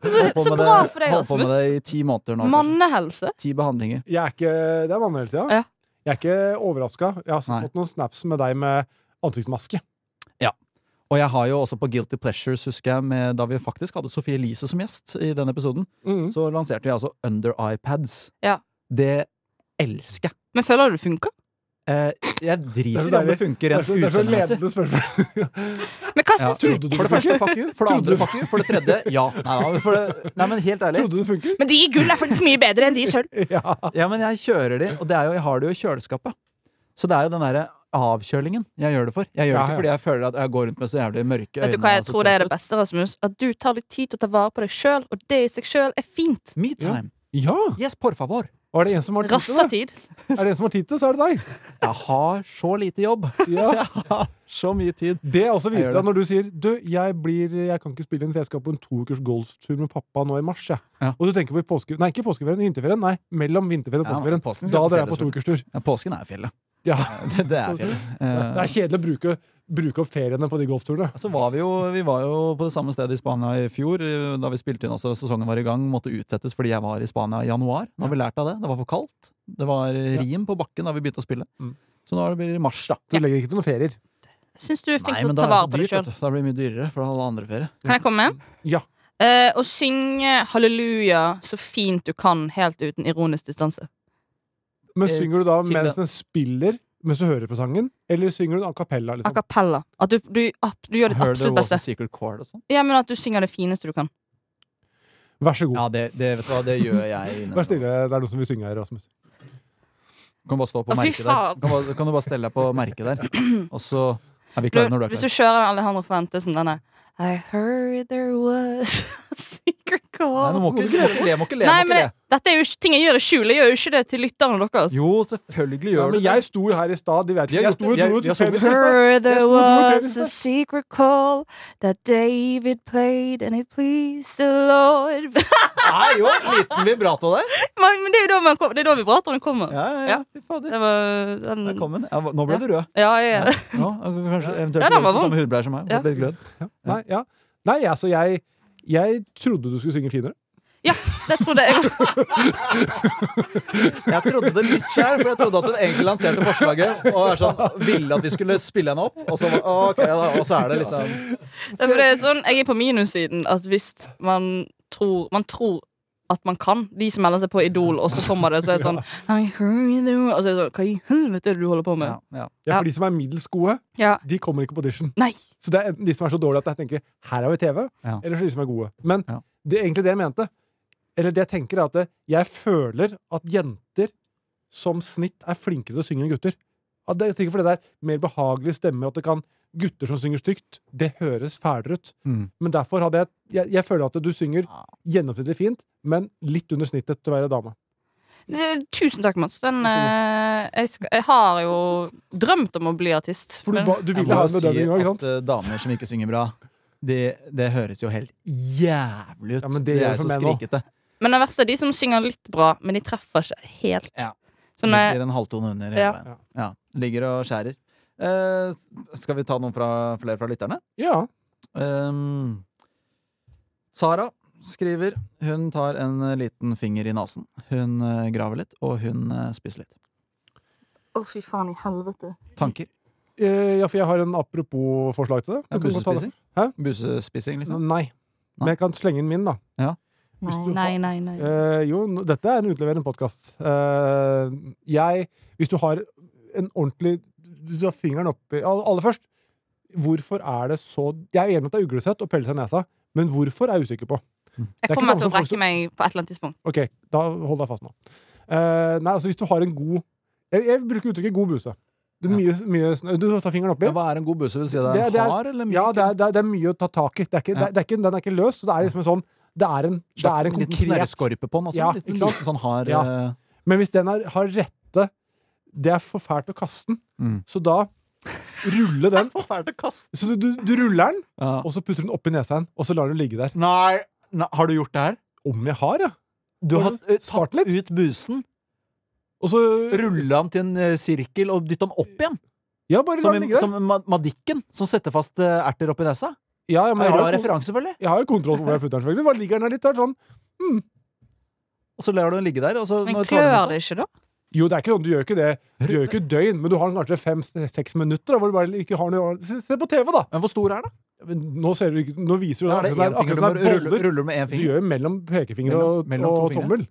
S4: Så,
S2: Holdt på
S4: så
S2: med
S4: bra
S2: det-
S4: for deg,
S2: Holdt på med
S4: Rasmus.
S2: det i ti måneder nå. kanskje.
S4: Mannehelse.
S2: Ti behandlinger.
S3: Jeg er ikke, det er mannehelse, ja.
S4: Ja.
S3: Jeg er ikke overraska. Jeg har
S2: Nei.
S3: fått noen snaps med deg med ansiktsmaske.
S2: Og jeg har jo også på Guilty Pleasures, husker jeg, med, da vi faktisk hadde Sofie Elise som gjest i den episoden,
S3: Mhm.
S2: så lanserte vi altså Under iPads.
S4: Ja.
S2: Det elsker jeg.
S4: Men føler du det funker?
S2: Eh, jeg
S3: Det er så
S2: driter i om det
S3: deilig.
S2: funker
S3: Det er
S2: rent
S3: så, det er så
S2: utseendemessig.
S3: ledende spørsmål.
S4: Men hva
S2: Ja.
S4: syns du?
S3: Trodde du
S2: For det
S3: det
S2: første, fuck you. For det
S3: Trodde du-
S2: andre, fuck you. For det tredje, ja. Nei, da, men for det, nei men helt ærlig.
S3: Trodde du det funker?
S4: Men de i gull er faktisk mye bedre enn de i sølv.
S3: Ja.
S2: Ja, men jeg kjører de, og det er jo, jeg har det jo i kjøleskapet. Så det er jo den derre avkjølingen jeg gjør det for. Jeg gjør det
S3: Ja,
S2: ikke
S3: ja.
S2: fordi jeg føler at jeg går rundt med så jævlig mørke øyne.
S4: Vet du hva jeg
S2: og så
S4: tror det er det
S2: trøtt ut.
S4: beste, Rasmus? At du tar litt tid til å ta vare på deg sjøl, og det i seg sjøl er fint.
S2: Me time.
S3: Ja!
S2: Yes, por favor!
S3: Og er det en som har tid til det?
S4: Rassatid.
S3: Er det en som har tid til det, så er det deg.
S2: Jeg har så lite jobb.
S3: Ja.
S2: Jeg har så mye tid.
S3: Det er også
S2: Jeg
S3: viser
S2: gjør
S3: deg når du sier Du, jeg, blir, jeg kan ikke spille inn, for jeg skal på en to ukers golftur med pappa nå i mars. jeg».
S2: Ja.
S3: Og du tenker på i påske... Nei, ikke påskeferien, vinterferien. Nei, mellom vinterferien og
S2: Ja,
S3: påskeferien.
S2: påsken
S3: da
S2: skal på
S3: drar jeg på
S2: fjellet,
S3: to ukers tur.
S2: Ja, påsken er fjellet.
S3: Ja.
S2: Det, det er fjellet.
S3: Det
S2: Eh,
S3: er kjedelig å bruke, bruke opp feriene på de golfturene.
S2: så var vi, jo, vi var jo på det samme stedet i Spania i fjor, eh, da vi spilte inn også. Sesongen var i gang, måtte utsettes fordi jeg var i Spania i januar. Nå har vi lært av det. Det var for kaldt. Det var eh, rim på bakken da vi begynte å spille.
S3: Mm.
S2: Så nå er det blir det mars, da.
S3: Du legger ikke til noen ferier.
S4: Syns du er flink
S2: Nei,
S4: til å
S2: men da
S4: ta
S2: er det
S4: vare
S2: så
S4: på deg
S2: dyrt.
S4: sjøl.
S2: vet du. Da blir det mye dyrere, for da har alle andre ferie.
S4: Kan jeg komme med en?
S3: Ja.
S4: Eh, og synge halleluja så fint du kan, helt uten ironisk distanse.
S3: Men
S2: Eh,
S3: synger du da
S2: til
S3: mens den spiller, mens du hører på sangen? Eller synger du den a cappella?
S4: A
S3: Liksom?
S4: cappella. At du, du, at du gjør ditt
S2: Heard there
S4: absolutt
S2: was a
S4: beste.
S2: secret chord og sånn.
S4: Ja, men at du synger det fineste du kan.
S3: Vær så god.
S2: Ja, det, det, vet du hva, det gjør jeg. innimellom.
S3: Vær stille. Det er noen som vil synge her, Rasmus.
S2: Du kan bare stå på
S4: Å, fy
S2: merket der.
S4: faen.
S2: Kan, bare, kan du bare stelle deg på merket der, og så er vi
S4: Du,
S2: klare når du er
S4: hvis du
S2: klar.
S4: kjører den Alejandro Fuentesen, denne I heard there was a secret
S2: Nei, nå
S4: call
S2: må ikke, du må ikke le, må ikke le.
S4: Nei,
S2: må
S4: men
S2: ikke le.
S4: det, dette er jo ikke ting jeg gjør i skjul. Jeg gjør jo ikke det til lytterne deres.
S2: Jo, selvfølgelig
S3: Ja,
S2: gjør
S3: men
S2: du det.
S3: jeg sto jo her i stad. De
S2: Vi
S3: vet
S2: har
S3: ikke. Jeg
S2: gjort
S3: sto
S2: det. Vi har-
S3: jo
S2: vi har
S3: til
S2: sunget.
S3: tennis i stad.
S4: Heard
S3: Jeg
S4: there
S3: sto på bordet.
S4: was a secret call that David played and it pleased the Lord.
S2: Nei, jo, en liten vibrato der.
S4: Men men det er jo da, man kom, det er da vibratorene kommer.
S2: Ja, ja, ja. Fy fader.
S4: Det var den
S2: Der kom den. Ja, hva- nå ble du rød.
S4: Ja, ja. ja.
S2: Ja, kanskje eventuelt
S4: Ja, den var
S2: litt
S4: vond.
S2: samme hudbleier som meg.
S4: Ja.
S2: Litt glød.
S3: Nei, ja. Nei, altså, jeg, jeg trodde du skulle synge finere.
S4: Det trodde jeg òg.
S2: Jeg trodde det litt sjøl, for jeg trodde at hun egentlig lanserte forslaget og er sånn, ville at vi skulle spille henne opp, og så, var- ok, da, og så er det liksom
S4: For det er sånn, jeg er på minussiden at hvis man tror, man tror at man kan, de som melder seg på Idol, og så kommer det, så er det sånn I heard you, Og så er det sånn Hva i helvete er det du holder på med?
S2: ja, ja.
S3: Ja,
S4: Ja.
S3: For de som er middels gode,
S4: Ja.
S3: de kommer ikke på audition.
S4: Nei.
S3: Så det er enten de som er så dårlige at jeg tenker her er vi TV,
S2: Ja.
S3: eller så de som er gode. Men
S2: Ja.
S3: det er egentlig det jeg mente. Eller det jeg tenker, er at det- jeg føler at jenter som snitt er flinkere til å synge enn gutter. At det er sikkert fordi det er mer behagelige stemmer, at det kan gutter som synger stygt, det høres fælere ut.
S2: Mm.
S3: Men derfor hadde jeg, jeg Jeg føler at du synger
S2: Ja.
S3: gjennomsnittlig fint, men litt under snittet til å være dame.
S4: Eh, Tusen takk, Mats. Den, eh, jeg, skal, jeg har jo drømt om å bli artist.
S3: For du,
S4: men-
S3: ba- du
S2: Jeg
S3: ville
S2: må
S3: ha en
S2: jo si
S3: bedømming òg, ikke sant?
S2: at eh, damer som ikke synger bra, det, det høres jo helt jævlig ut.
S3: Ja, men det
S2: det,
S3: gjør
S2: er jo
S3: for
S2: så
S3: meg nå.
S2: skrikete.
S4: Men det verste er de som synger litt bra, men de treffer ikke helt.
S2: Ja.
S4: Så når jeg,
S2: Ligger en halvtone under hele
S4: Ja.
S2: veien. Ja. Ligger og skjærer. Eh, skal vi ta noen fra, flere fra lytterne?
S3: Ja.
S2: Ehm, Sara skriver Hun tar en eh, liten finger i nasen. Hun eh, graver litt, og hun eh, spiser litt.
S4: Å, fy faen i helvete.
S2: Tanker?
S3: Eh, ja, for jeg har en apropos-forslag til det.
S2: Ja,
S3: Du kan godt ta det.
S2: busespising?
S3: Hæ?
S2: Busespising, liksom?
S3: Nei. Men jeg kan slenge inn min, da. Hvis du
S4: Nei, nei, nei. nei.
S3: Eh, jo, nå- dette er en utleverende podkast. jeg Hvis du har en ordentlig Du har fingeren oppi Al- Aller først, hvorfor er det så Jeg er enig i at det er uglesett å pelle seg i nesa, men hvorfor er jeg usikker på.
S4: Jeg
S3: er ikke
S4: kommer
S3: sånn
S4: til å
S3: som folk
S4: brekke
S3: som-
S4: meg på et eller annet tidspunkt.
S3: Ok, da hold deg fast nå. Eh, nei, altså hvis du har en god Jeg, jeg bruker uttrykket god buse. Det er mye, mye snø. Du tar fingeren oppi.
S2: Ja, hva er en god buse? Vil du si det
S3: Det er-
S2: er
S3: det er-
S2: hard eller myk?
S3: Ja, det er, det er, det er mye å ta tak i. Det er ikke,
S2: Ja.
S3: det er, det er ikke, den er ikke løs, så det er liksom en sånn Det er en, det er en
S2: liten
S3: konkret
S2: snørreskorpe på den også.
S3: Ja,
S2: en liten,
S3: ikke sant?
S2: liten sånn hard
S3: Ja.
S2: eh,
S3: Men hvis den er, har rette Det er for fælt å kaste den,
S2: Mm.
S3: så da rulle den.
S2: Forferdelig kast.
S3: Så du, du, du ruller den,
S2: Ja.
S3: og så putter du den oppi nesa igjen, og så lar du den ligge der.
S2: Nei, nei, har du gjort det her?
S3: Om jeg har, ja!
S2: Du har
S3: Har du
S2: eh,
S3: spart
S2: tatt
S3: litt?
S2: ut busen,
S3: Og så
S2: rulla den til en eh, sirkel og dytta den opp igjen.
S3: Ja, bare la
S2: Som,
S3: den
S2: i,
S3: ligge der.
S2: som Ma- Madikken, som setter fast eh, erter oppi nesa.
S3: Ja, ja, men jeg,
S2: Bra
S3: har jo, kon-
S2: referanse, selvfølgelig.
S3: jeg har jo kontroll på hvor jeg putter den, selvfølgelig. Bare ligger den der litt der, sånn.
S2: Og så lar du den ligge der. Og så,
S4: Men
S2: når du tar den ut, da-
S4: klør det ikke, da?
S3: Jo, det er ikke sånn, du gjør ikke det. Du gjør ikke døgn, men du har den kanskje fem-seks minutter da, hvor du bare ikke har noe Se- Se på TV, da!
S2: Men hvor stor er den?
S3: Men Nå, ser du, ikke- nå viser du
S2: Da
S3: det.
S2: er det én
S3: akkurat som det er-
S2: finger
S3: akkurat
S2: du
S3: som
S2: må
S3: det er
S2: rulle,
S3: boller.
S2: ruller med én
S3: Du
S2: finger.
S3: gjør jo mellom pekefinger og,
S2: Mellom- mellom
S3: og
S2: to fingre.
S3: tommel.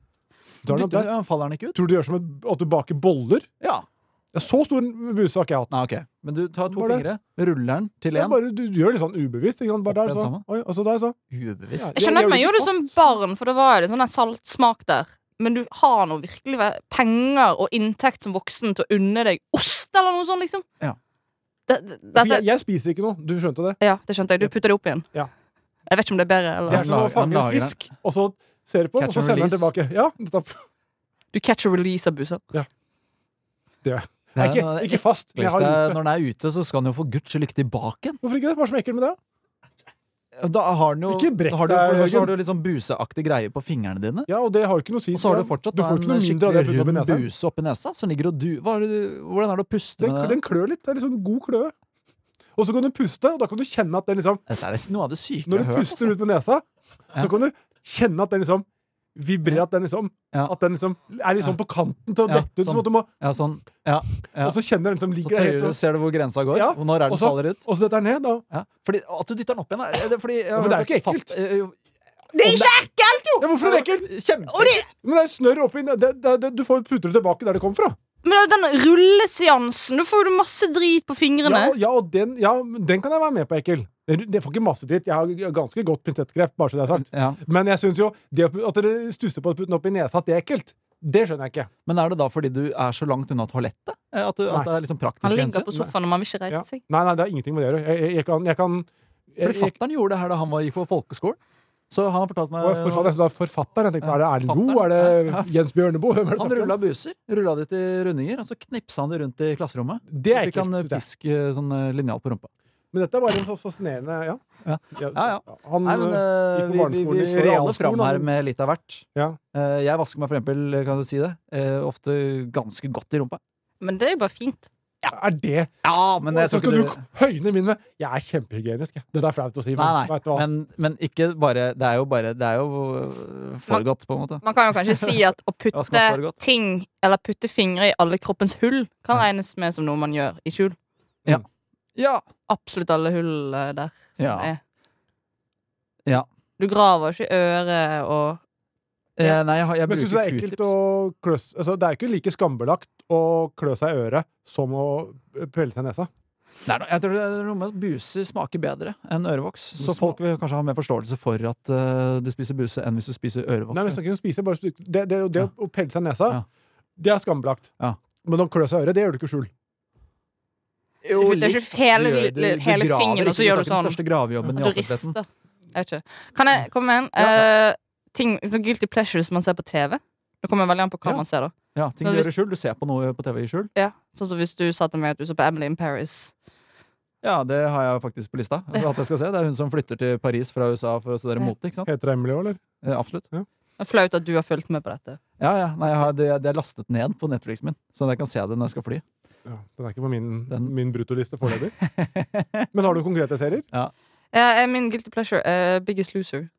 S3: Du har den opp
S2: Dytter,
S3: der.
S2: ja, faller den ikke ut?
S3: Tror du det gjør som et- at du baker boller?
S2: Ja.
S3: Ja, så stor buse har ikke jeg hatt.
S2: Nei, ok. Men du tar to
S3: Bare-
S2: fingre, ruller den til
S3: Det er
S2: én.
S3: bare, du, du gjør det litt sånn ubevisst. Ikke sant? Bare
S2: Opp
S3: der,
S2: igjen
S3: så.
S2: sammen.
S3: Oi, og så der, så.
S4: Jeg skjønner
S2: Ubevisst.
S4: liksom at man gjorde det som barn, for da var det sånn der saltsmak der. Men du har nå virkelig væ- penger og inntekt som voksen til å unne deg ost eller noe sånt, liksom.
S2: Ja.
S4: Det, det,
S3: For
S4: dette,
S3: jeg, jeg spiser ikke noe. Du skjønte det?
S4: ja, det skjønte jeg. Du putter det opp igjen.
S3: Ja.
S4: Jeg vet ikke om det er bedre,
S3: Det
S4: eller
S3: er
S2: Han
S3: som å
S2: lager- han
S3: fange en
S2: lager den.
S3: fisk, og så ser på den, og
S2: Catch
S3: så
S2: and
S3: sender
S2: release.
S3: den tilbake. Ja, nettopp.
S4: Du catch and release av busser.
S2: Det er
S3: ikke,
S2: noe av det
S3: ikke fast. Men jeg har
S2: ekleste.
S3: gjort det.
S2: Når den er ute, så skal den jo for guds skyld ikke tilbake igjen.
S3: Hvorfor ikke det? Hva er det som er ekkelt med det?
S2: Da har den jo,
S3: Ikke brekk
S2: da har du,
S3: deg,
S2: for det første
S3: Jørgen.
S2: har du litt sånn buseaktig greie på fingrene dine.
S3: Ja, og det har jo ikke noe å si.
S2: Og så har
S3: Ja,
S2: du fortsatt
S3: du
S2: da
S3: får ikke
S2: en
S3: noe mindre av det
S2: skikkelig
S3: puttet opp i
S2: rund
S3: nesa.
S2: buse oppi nesa som ligger og du, hva er det, du- Hvordan er det å puste
S3: Den,
S2: med det?
S3: den klør litt. Det er litt sånn god kløe. Og så kan du puste, og da kan du kjenne at den liksom
S2: Dette er nesten noe av det syke jeg
S3: Når du
S2: har hørt. altså.
S3: puster ut med nesa, så
S2: Ja.
S3: kan du kjenne at den liksom vibrerer, at den liksom
S2: Ja.
S3: At den liksom er litt sånn på kanten til å
S2: Ja,
S3: dette ut. Som
S2: sånn.
S3: at du må,
S2: Ja, sånn, ja, ja.
S3: Og så kjenner den liksom
S2: Så
S3: ligger der
S2: tøyer
S3: helt
S2: du,
S3: og,
S2: ser du hvor grensa går?
S3: Ja,
S2: og Når er det
S3: og
S2: den
S3: så-
S2: faller ut?
S3: og så detter den ned. Da.
S2: Ja. Fordi, at du dytter den opp igjen, er det fordi
S3: Ja, men det er jo ikke
S2: fatt-
S3: ekkelt.
S2: eh, jo-
S4: Det er ikke ekkelt, jo!
S3: Ja, hvorfor er det ekkelt?
S2: Kjempe-
S3: Men det er jo snørr oppi det, det, det, Du får putter det tilbake der det kom fra.
S4: Men den rulleseansen, da får du masse drit på
S3: Ja,
S4: fingrene.
S3: ja, og den, ja, men den kan jeg være med på, ekkel. Det det får ikke masse dritt. Jeg har ganske godt pinsettgrep, bare så det er sagt.
S2: Ja.
S3: Men jeg synes jo det å- at dere stusser på å putte den opp i nesa, at det er ekkelt, det skjønner jeg ikke.
S2: Men er det da fordi du er så langt unna toalettet? Eh, At, du,
S3: Nei.
S2: at det er liksom praktisk
S4: Han ligger
S2: hensyn?
S4: på sofaen og man vil ikke reise
S3: Ja.
S4: seg.
S3: Nei, nei, det har ingenting med det å gjøre. Jeg, jeg, jeg kan, jeg kan jeg,
S2: Fordi fatteren gjorde det her da han var, gikk på folkeskolen. Så han fortalte meg
S3: Å, jeg forfatter, jeg synes det var forfatteren. Jeg tenkte, er det Erlend Loe? Er
S2: Ja.
S3: det Jens Bjørneboe? Hvem er det
S2: Han
S3: snakker om?
S2: rulla buser, rulla de til rundinger, og så knipsa han de rundt i klasserommet.
S3: Det
S2: Så
S3: er
S2: fikk han eh,
S3: ekkelt. synes jeg.
S2: pisk eh, sånn eh, linjal på rumpa.
S3: Men dette er bare en så fascinerende Ja.
S2: Ja.
S3: Ja,
S2: Ja, ja.
S3: Han,
S2: Nei, men eh,
S3: Mm.
S2: vi,
S3: gikk på
S2: vi,
S3: barneskolen i
S2: vi står alle
S3: realskolen,
S2: fram her
S3: han.
S2: med litt av hvert.
S3: Ja.
S2: Eh, jeg vasker meg for eksempel, kan du si det, eh, ofte ganske godt i rumpa.
S4: Men det er jo bare fint.
S3: er det
S2: Ja, men jeg
S3: Så
S2: tror
S3: skal
S2: ikke
S3: du
S2: du
S3: høyne min med Jeg er kjempehygienisk. jeg. Det der er flaut å si, men
S2: Nei, nei,
S3: vet du hva?
S2: men, men ikke bare Det er jo bare Det er jo øh, foregått, på en måte.
S4: Man kan jo kanskje si at å
S2: Ja, skal man svare
S4: putte
S2: godt?
S4: ting, eller putte fingre i alle kroppens hull, kan regnes med som noe man gjør i skjul.
S2: Ja.
S4: Absolutt alle hull eh, der som
S2: Ja.
S4: er.
S2: Ja.
S4: Du graver ikke i øret og
S2: Eh, nei, jeg, har- jeg
S3: Men synes du det
S2: bruker
S3: er ekkelt
S2: q-tips.
S3: å kløs, altså, Det er ikke like skambelagt å klø seg i øret som å pelle seg i nesa.
S2: Det er noe- Jeg tror det er noe med at buser smaker bedre enn ørevoks. Så
S3: smak-
S2: folk vil kanskje ha mer forståelse for at øh, du spiser buse enn hvis du spiser ørevoks.
S3: Nei, men jeg snakker ikke om å spise, bare det, det, det,
S2: Ja.
S3: å pelle seg i nesa,
S2: Ja.
S3: det er skambelagt.
S2: Ja.
S3: Men å klø seg i øret, det gjør du ikke i skjul.
S4: Du putter
S2: litt.
S4: ikke hele,
S2: Du gjør- du- du
S4: hele
S2: graver
S4: fingeren,
S2: ikke.
S4: og så gjør
S2: tar
S4: du
S2: ikke den
S4: sånn.
S2: største gravejobben i
S4: Du
S2: offentligheten.
S4: rister. Jeg vet ikke. Kan jeg komme med en?
S2: Ja,
S4: Eh, ting, sånn guilty pleasures man ser på TV. Det kommer veldig an på hva
S2: Ja.
S4: man ser, da.
S2: Ja, ting
S4: Så
S2: du
S4: hvis-
S2: gjør i skjul. Du ser på noe på TV i skjul.
S4: Ja, sånn som hvis du sa til meg at du så på Emily in Paris.
S2: Ja, det har jeg faktisk på lista. At jeg skal se. Det er hun som flytter til Paris fra USA for å studere
S4: Ja.
S2: mote, ikke sant?
S3: Heter det Emily òg, eller?
S2: Eh, Absolutt.
S4: Det er flaut at du har fulgt med på dette.
S2: Ja, ja. Nei, jeg har, det, det er lastet ned på Netflix min, så jeg kan se det når jeg skal fly.
S3: Ja, den er ikke på min,
S2: Den-
S3: min bruttoliste foreløpig. Men har du konkrete serier?
S4: Eh, eh, min guilty pleasure eh, Biggest Loser.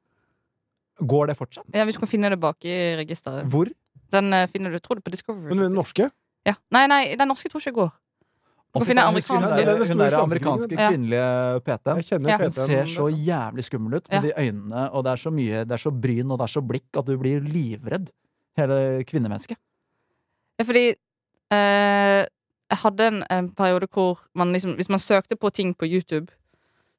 S2: Går det fortsatt?
S4: Ja, hvis du kan finne det bak i registeret.
S2: Hvor?
S4: Den eh, finner du, tror du, på Discovery.
S3: Men den
S4: faktisk.
S3: norske?
S4: Ja. Nei, nei, den norske tror ikke jeg går. Du kan finne
S2: Å, fy
S4: amerikanske.
S2: faen, Hun
S3: Det er
S2: der,
S3: den
S2: hun
S3: store
S2: der
S3: slanken,
S2: amerikanske
S4: ja.
S2: kvinnelige PT-en.
S3: Jeg kjenner
S4: Ja.
S2: Hun ser så jævlig skummel ut med
S4: Ja.
S2: de øynene, og det er så mye, det er så bryn og det er så blikk at du blir livredd. Hele kvinnemennesket.
S4: Ja, fordi eh, jeg hadde en, en periode hvor man liksom, hvis man søkte på ting på YouTube,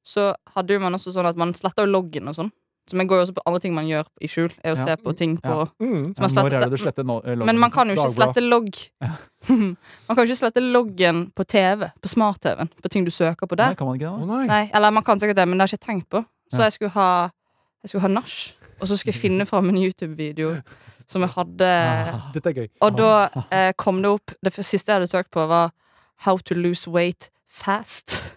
S4: så hadde jo man også sånn at man sletta jo loggen og sånn. Så man går jo også på andre ting man gjør i skjul. Er å
S2: Ja.
S4: se på ting på
S2: Ja.
S3: Mm.
S4: Så man
S2: Når
S4: sletter-
S2: er det du sletter nå? eh, loggen?
S4: Men man kan jo ikke
S3: Dagbladet.
S4: slette logg. man kan jo ikke slette loggen på TV, på smart-TV-en, på ting du søker på
S2: Nei,
S4: der.
S2: kan man ikke
S3: Å
S2: det?
S3: nei.
S4: Nei, eller man kan sikkert det, men det har jeg ikke tenkt på. Så
S2: Ja.
S4: jeg skulle ha Jeg skulle ha nach, og så skulle jeg finne fram en YouTube-video som jeg hadde
S2: Ah.
S3: Dette er gøy.
S4: Og da eh, kom det opp Det f- siste jeg hadde søkt på, var How to lose weight fast.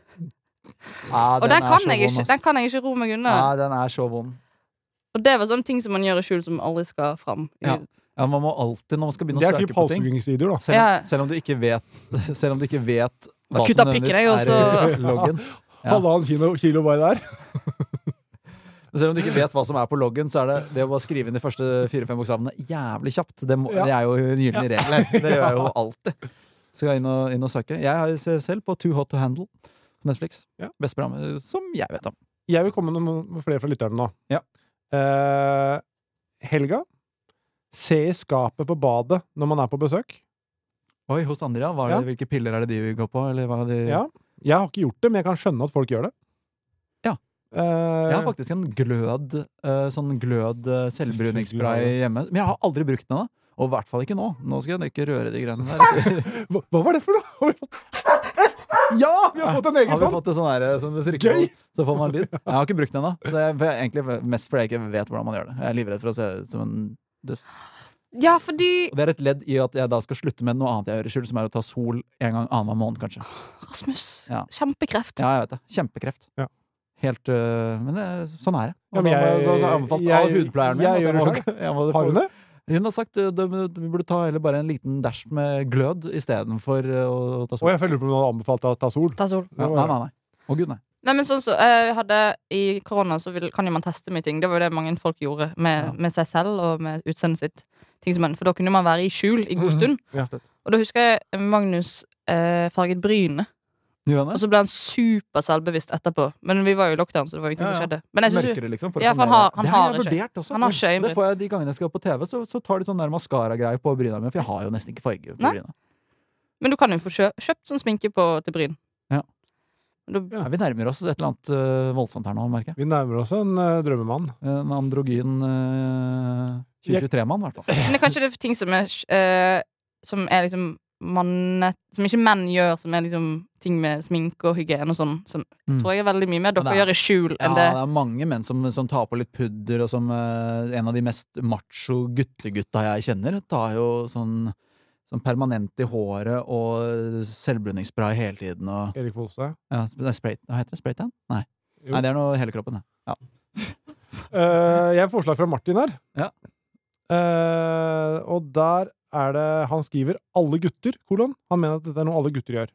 S2: Ja,
S4: Og den,
S2: Ah, er
S4: kan
S2: så
S4: jeg
S2: vond,
S4: ikke,
S2: ass.
S4: den kan jeg ikke ro meg unna.
S2: Ja, den er så vond.
S4: Og det var sånne ting som man gjør i skjul, som aldri skal fram. i-
S2: Ja. Ja, man må alltid, når man skal begynne
S3: Det
S2: å
S3: er
S2: søke
S3: typ
S2: på ting
S3: halshuggingsvideoer, da.
S2: selv,
S4: Ja.
S2: selv om du ikke vet Selv om du ikke vet
S4: Bare kutt av pikken, jeg, og
S2: er i loggen. Ja.
S3: Halvannen kilo, kilo bare der.
S2: Selv om du ikke vet hva som er på loggen, så er det det å bare skrive inn de første fire-fem bokstavene jævlig kjapt. Det, må,
S3: Ja.
S2: det er jo en gyllen regel her. Det gjør jeg jo alltid. Så skal jeg inn og, inn og søke. Jeg ser selv på Too Hot To Handle på Netflix.
S3: Ja.
S2: Beste programmet som jeg vet om.
S3: Jeg vil komme med noen flere fra lytterne nå.
S2: Ja.
S3: Eh, helga. Se i skapet på badet når man er på besøk.
S2: Oi, hos Andrea, hva er det, hvilke piller er det de går på? Eller hva er det de...
S3: Ja. Jeg har ikke gjort det, men jeg kan skjønne at folk gjør det.
S2: Ja.
S3: Eh,
S2: Jeg har faktisk en glød eh, Sånn glød eh, selvbruningsspray hjemme. Men jeg har aldri brukt den ennå. Og i hvert fall ikke nå. Nå skal jeg ikke røre de greiene der.
S3: hva, hva var det for noe? Ja! Vi har fått en
S2: Har
S3: egen
S2: vi
S3: sånn!
S2: fått det sånn her, sånn du trykker
S3: Gøy!
S2: på, så får man lyd? Jeg har ikke brukt den ennå. så jeg- for jeg- egentlig Mest fordi jeg ikke vet hvordan man gjør det. Jeg er livredd for å se ut som en dust.
S4: Ja, fordi
S2: Og det er et ledd i at jeg da skal slutte med noe annet jeg gjør i skjul, som er å ta sol en gang annenhver måned, kanskje.
S4: Rasmus,
S2: Ja.
S4: kjempekreft.
S2: Ja, jeg vet det. Kjempekreft.
S3: Ja,
S2: Helt øh, Men det, sånn er det.
S3: Ja,
S2: Og da
S3: men
S2: må jeg,
S3: jeg-
S2: da har jeg anbefalt
S3: jeg-
S2: av hudpleieren min.
S3: jeg
S2: at
S3: gjør
S2: må-
S3: det
S2: jeg må-
S3: Har hun det?
S2: Hun har sagt øh, du du burde ta heller bare en liten dash med glød istedenfor øh, å ta
S3: Og
S2: sol.
S3: jeg følger på om hun hadde anbefalt deg å ta sol.
S4: Ta sol.
S2: Ja, nei, nei, nei. Å gud, nei.
S4: Nei, men sånn så, jeg hadde, I korona så vil, kan jo man teste mye ting. Det var jo det mange folk gjorde med,
S2: Ja.
S4: med seg selv og med utseendet sitt. Ting som man, for da kunne man være i skjul i
S2: Mm-hmm.
S4: god stund.
S3: Ja.
S4: Og da husker jeg Magnus eh, farget brynet.
S2: Gjør han
S4: Og
S2: det?
S4: så ble han superselvbevisst etterpå. Men vi var jo i lockdown, så det var jo ingenting
S2: Ja, ja.
S4: som skjedde. Men jeg synes jo,
S2: Mørkere, liksom. å
S4: Ja, for han
S2: få mer-
S4: har- han
S2: det har jeg
S4: har
S2: vurdert også.
S4: han har ikke øyenbryn.
S2: det får jeg de gangene jeg skal på TV, så, så tar de sånn der maskara-greier på bryna mine, for jeg har jo nesten ikke farge på
S4: Nei.
S2: bryna.
S4: Men du kan jo få kjø kjøpt sånn sminke på, til bryn.
S2: Ja.
S4: Da,
S2: Ja, vi nærmer oss et eller annet øh, voldsomt her nå, merker jeg.
S3: Vi nærmer oss en eh, drømmemann.
S2: En androgyn øh, 2023-mann, i hvert fall.
S4: men det er kanskje det er ting som er, eh, som er liksom mannet, Som ikke menn gjør, som er liksom ting med sminke og hygiene og sånn. Som
S2: Mm.
S4: tror jeg er veldig mye mer dere
S2: Men det er-
S4: gjør i skjul
S2: Ja,
S4: enn
S2: det
S4: det.
S2: er mange menn som, som tar på litt pudder, og som eh, en av de mest macho guttegutta jeg kjenner, tar jo sånn, sånn permanent i håret og selvbruningsspray hele tiden og
S3: Erik Folstad.
S2: ja, sp- nei, spray, Hva heter det? Spraytan? Nei.
S3: Jo.
S2: nei, det er noe hele kroppen, det.
S3: Eh, jeg har forslag fra Martin her.
S2: Ja.
S3: Eh, og der er det Han skriver 'alle gutter', kolon. Han mener at dette er noe alle gutter gjør.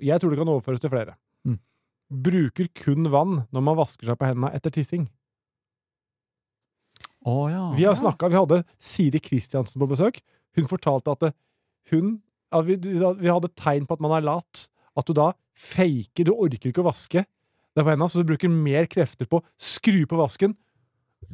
S3: Jeg tror det kan overføres til flere.
S2: Mm.
S3: Bruker kun vann når man vasker seg på hendene etter tissing.
S2: Å ja.
S3: Vi har snakket, vi hadde Siri Kristiansen på besøk. Hun fortalte at det- hun at vi, at vi hadde tegn på at man er lat. At du da faker Du orker ikke å vaske deg på hendene, så du bruker mer krefter på å skru på vasken.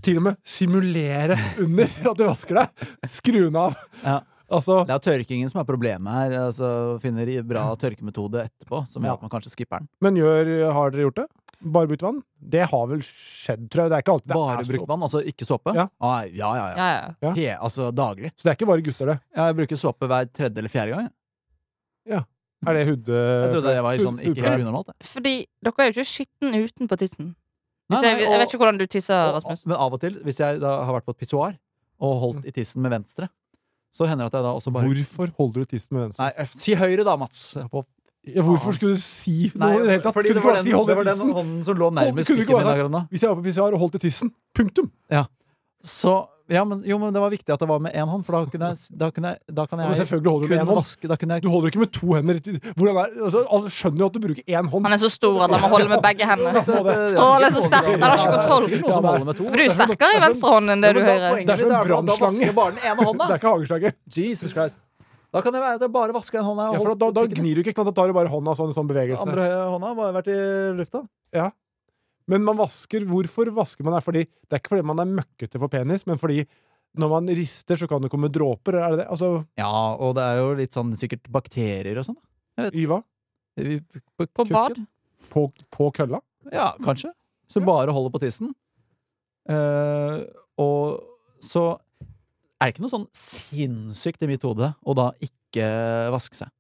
S3: Til og med simulere under at du vasker deg. Skru den av.
S2: Ja.
S3: Altså,
S2: Det er tørkingen som er problemet her. Altså, finner i bra tørkemetode etterpå, som
S3: Ja.
S2: gjør at man kanskje skipper den.
S3: men gjør, har dere gjort det? Bare brukt vann? Det har vel skjedd, tror jeg. Det er ikke alltid det
S2: Bare
S3: er så-
S2: brukt vann, altså ikke såpe?
S3: Ja.
S2: Ah, ja, ja, ja.
S4: Ja, ja.
S3: Ja.
S2: He, altså daglig.
S3: Så det er ikke bare gutter, det.
S2: Jeg bruker såpe hver tredje eller fjerde gang. jeg.
S3: Er det hud...
S2: Jeg trodde det var sånn ikke helt unormalt. jeg.
S4: Fordi dere er jo ikke skitten utenpå tissen.
S2: Nei,
S4: Hvis jeg,
S2: nei,
S4: jeg
S2: og-
S4: vet ikke hvordan du tisser,
S2: Og-
S4: Rasmus.
S2: Men av og til, hvis jeg da har vært på et pissoar og holdt i tissen med venstre, så hender det at jeg da også bare
S3: Hvorfor holder du tissen med venstre?
S2: Nei, eh, si høyre da, Mats. På-
S3: Ja, hvorfor skulle du si noe i det
S2: fordi
S3: hele tatt? Skulle
S2: det
S3: du ikke
S2: var
S3: bare
S2: den,
S3: si hold
S2: det
S3: i
S2: var den
S3: tissen?
S2: hånden som lå nærmest
S3: Kunne du
S2: pikken
S3: ikke
S2: min
S3: bare sagt-
S2: akkurat nå.
S3: Hvis jeg var på PCR og holdt i tissen, punktum.
S2: Så ja, men, jo, men det var viktig at det var med én hånd, for da kunne jeg, da kunne jeg, da kan
S3: Men
S2: jeg
S3: selvfølgelig holder du med
S2: kun
S3: én hånd.
S2: vaske Da kunne jeg
S3: Du holder ikke med to hender. Hvordan er, altså, alle skjønner jo at du bruker én hånd.
S4: Han er så stor at han må holde med begge hendene.
S2: Så det-
S4: Strålen er så sterk, den har ikke kontroll.
S2: Det er sikkert noen som holder med to.
S4: For du er sterkere i venstre hånd enn
S2: Ja,
S4: det du
S2: men da
S4: hører.
S2: poenget
S3: Det er som
S2: mitt
S3: en
S2: er at da vasker jeg
S3: brannnslange.
S2: bare den ene
S3: Det
S2: hånda.
S3: er ikke hageslaget.
S2: Jesus Christ. Da kan det være at jeg bare vasker den hånda. jeg
S3: Ja, for
S2: holdt
S3: da, da
S2: på pikken.
S3: gnir du ikke, ikke sant? da tar du bare hånda sånn, sånn bevegelse.
S2: Andre hånda har bare vært i lufta.
S3: Men man vasker, hvorfor vasker man det? Fordi, det er ikke fordi man er møkkete på penis, men fordi når man rister, så kan det komme dråper. Er det det? Altså,
S2: Ja, og det er jo litt sånn sikkert bakterier og sånn. da.
S3: i hva?
S2: I-
S4: På
S2: kukken.
S4: bad?
S3: På, på kølla?
S2: Ja, kanskje. Så bare holder på tissen. Eh, og så er det ikke noe sånn sinnssykt i mitt hode å da ikke vaske seg.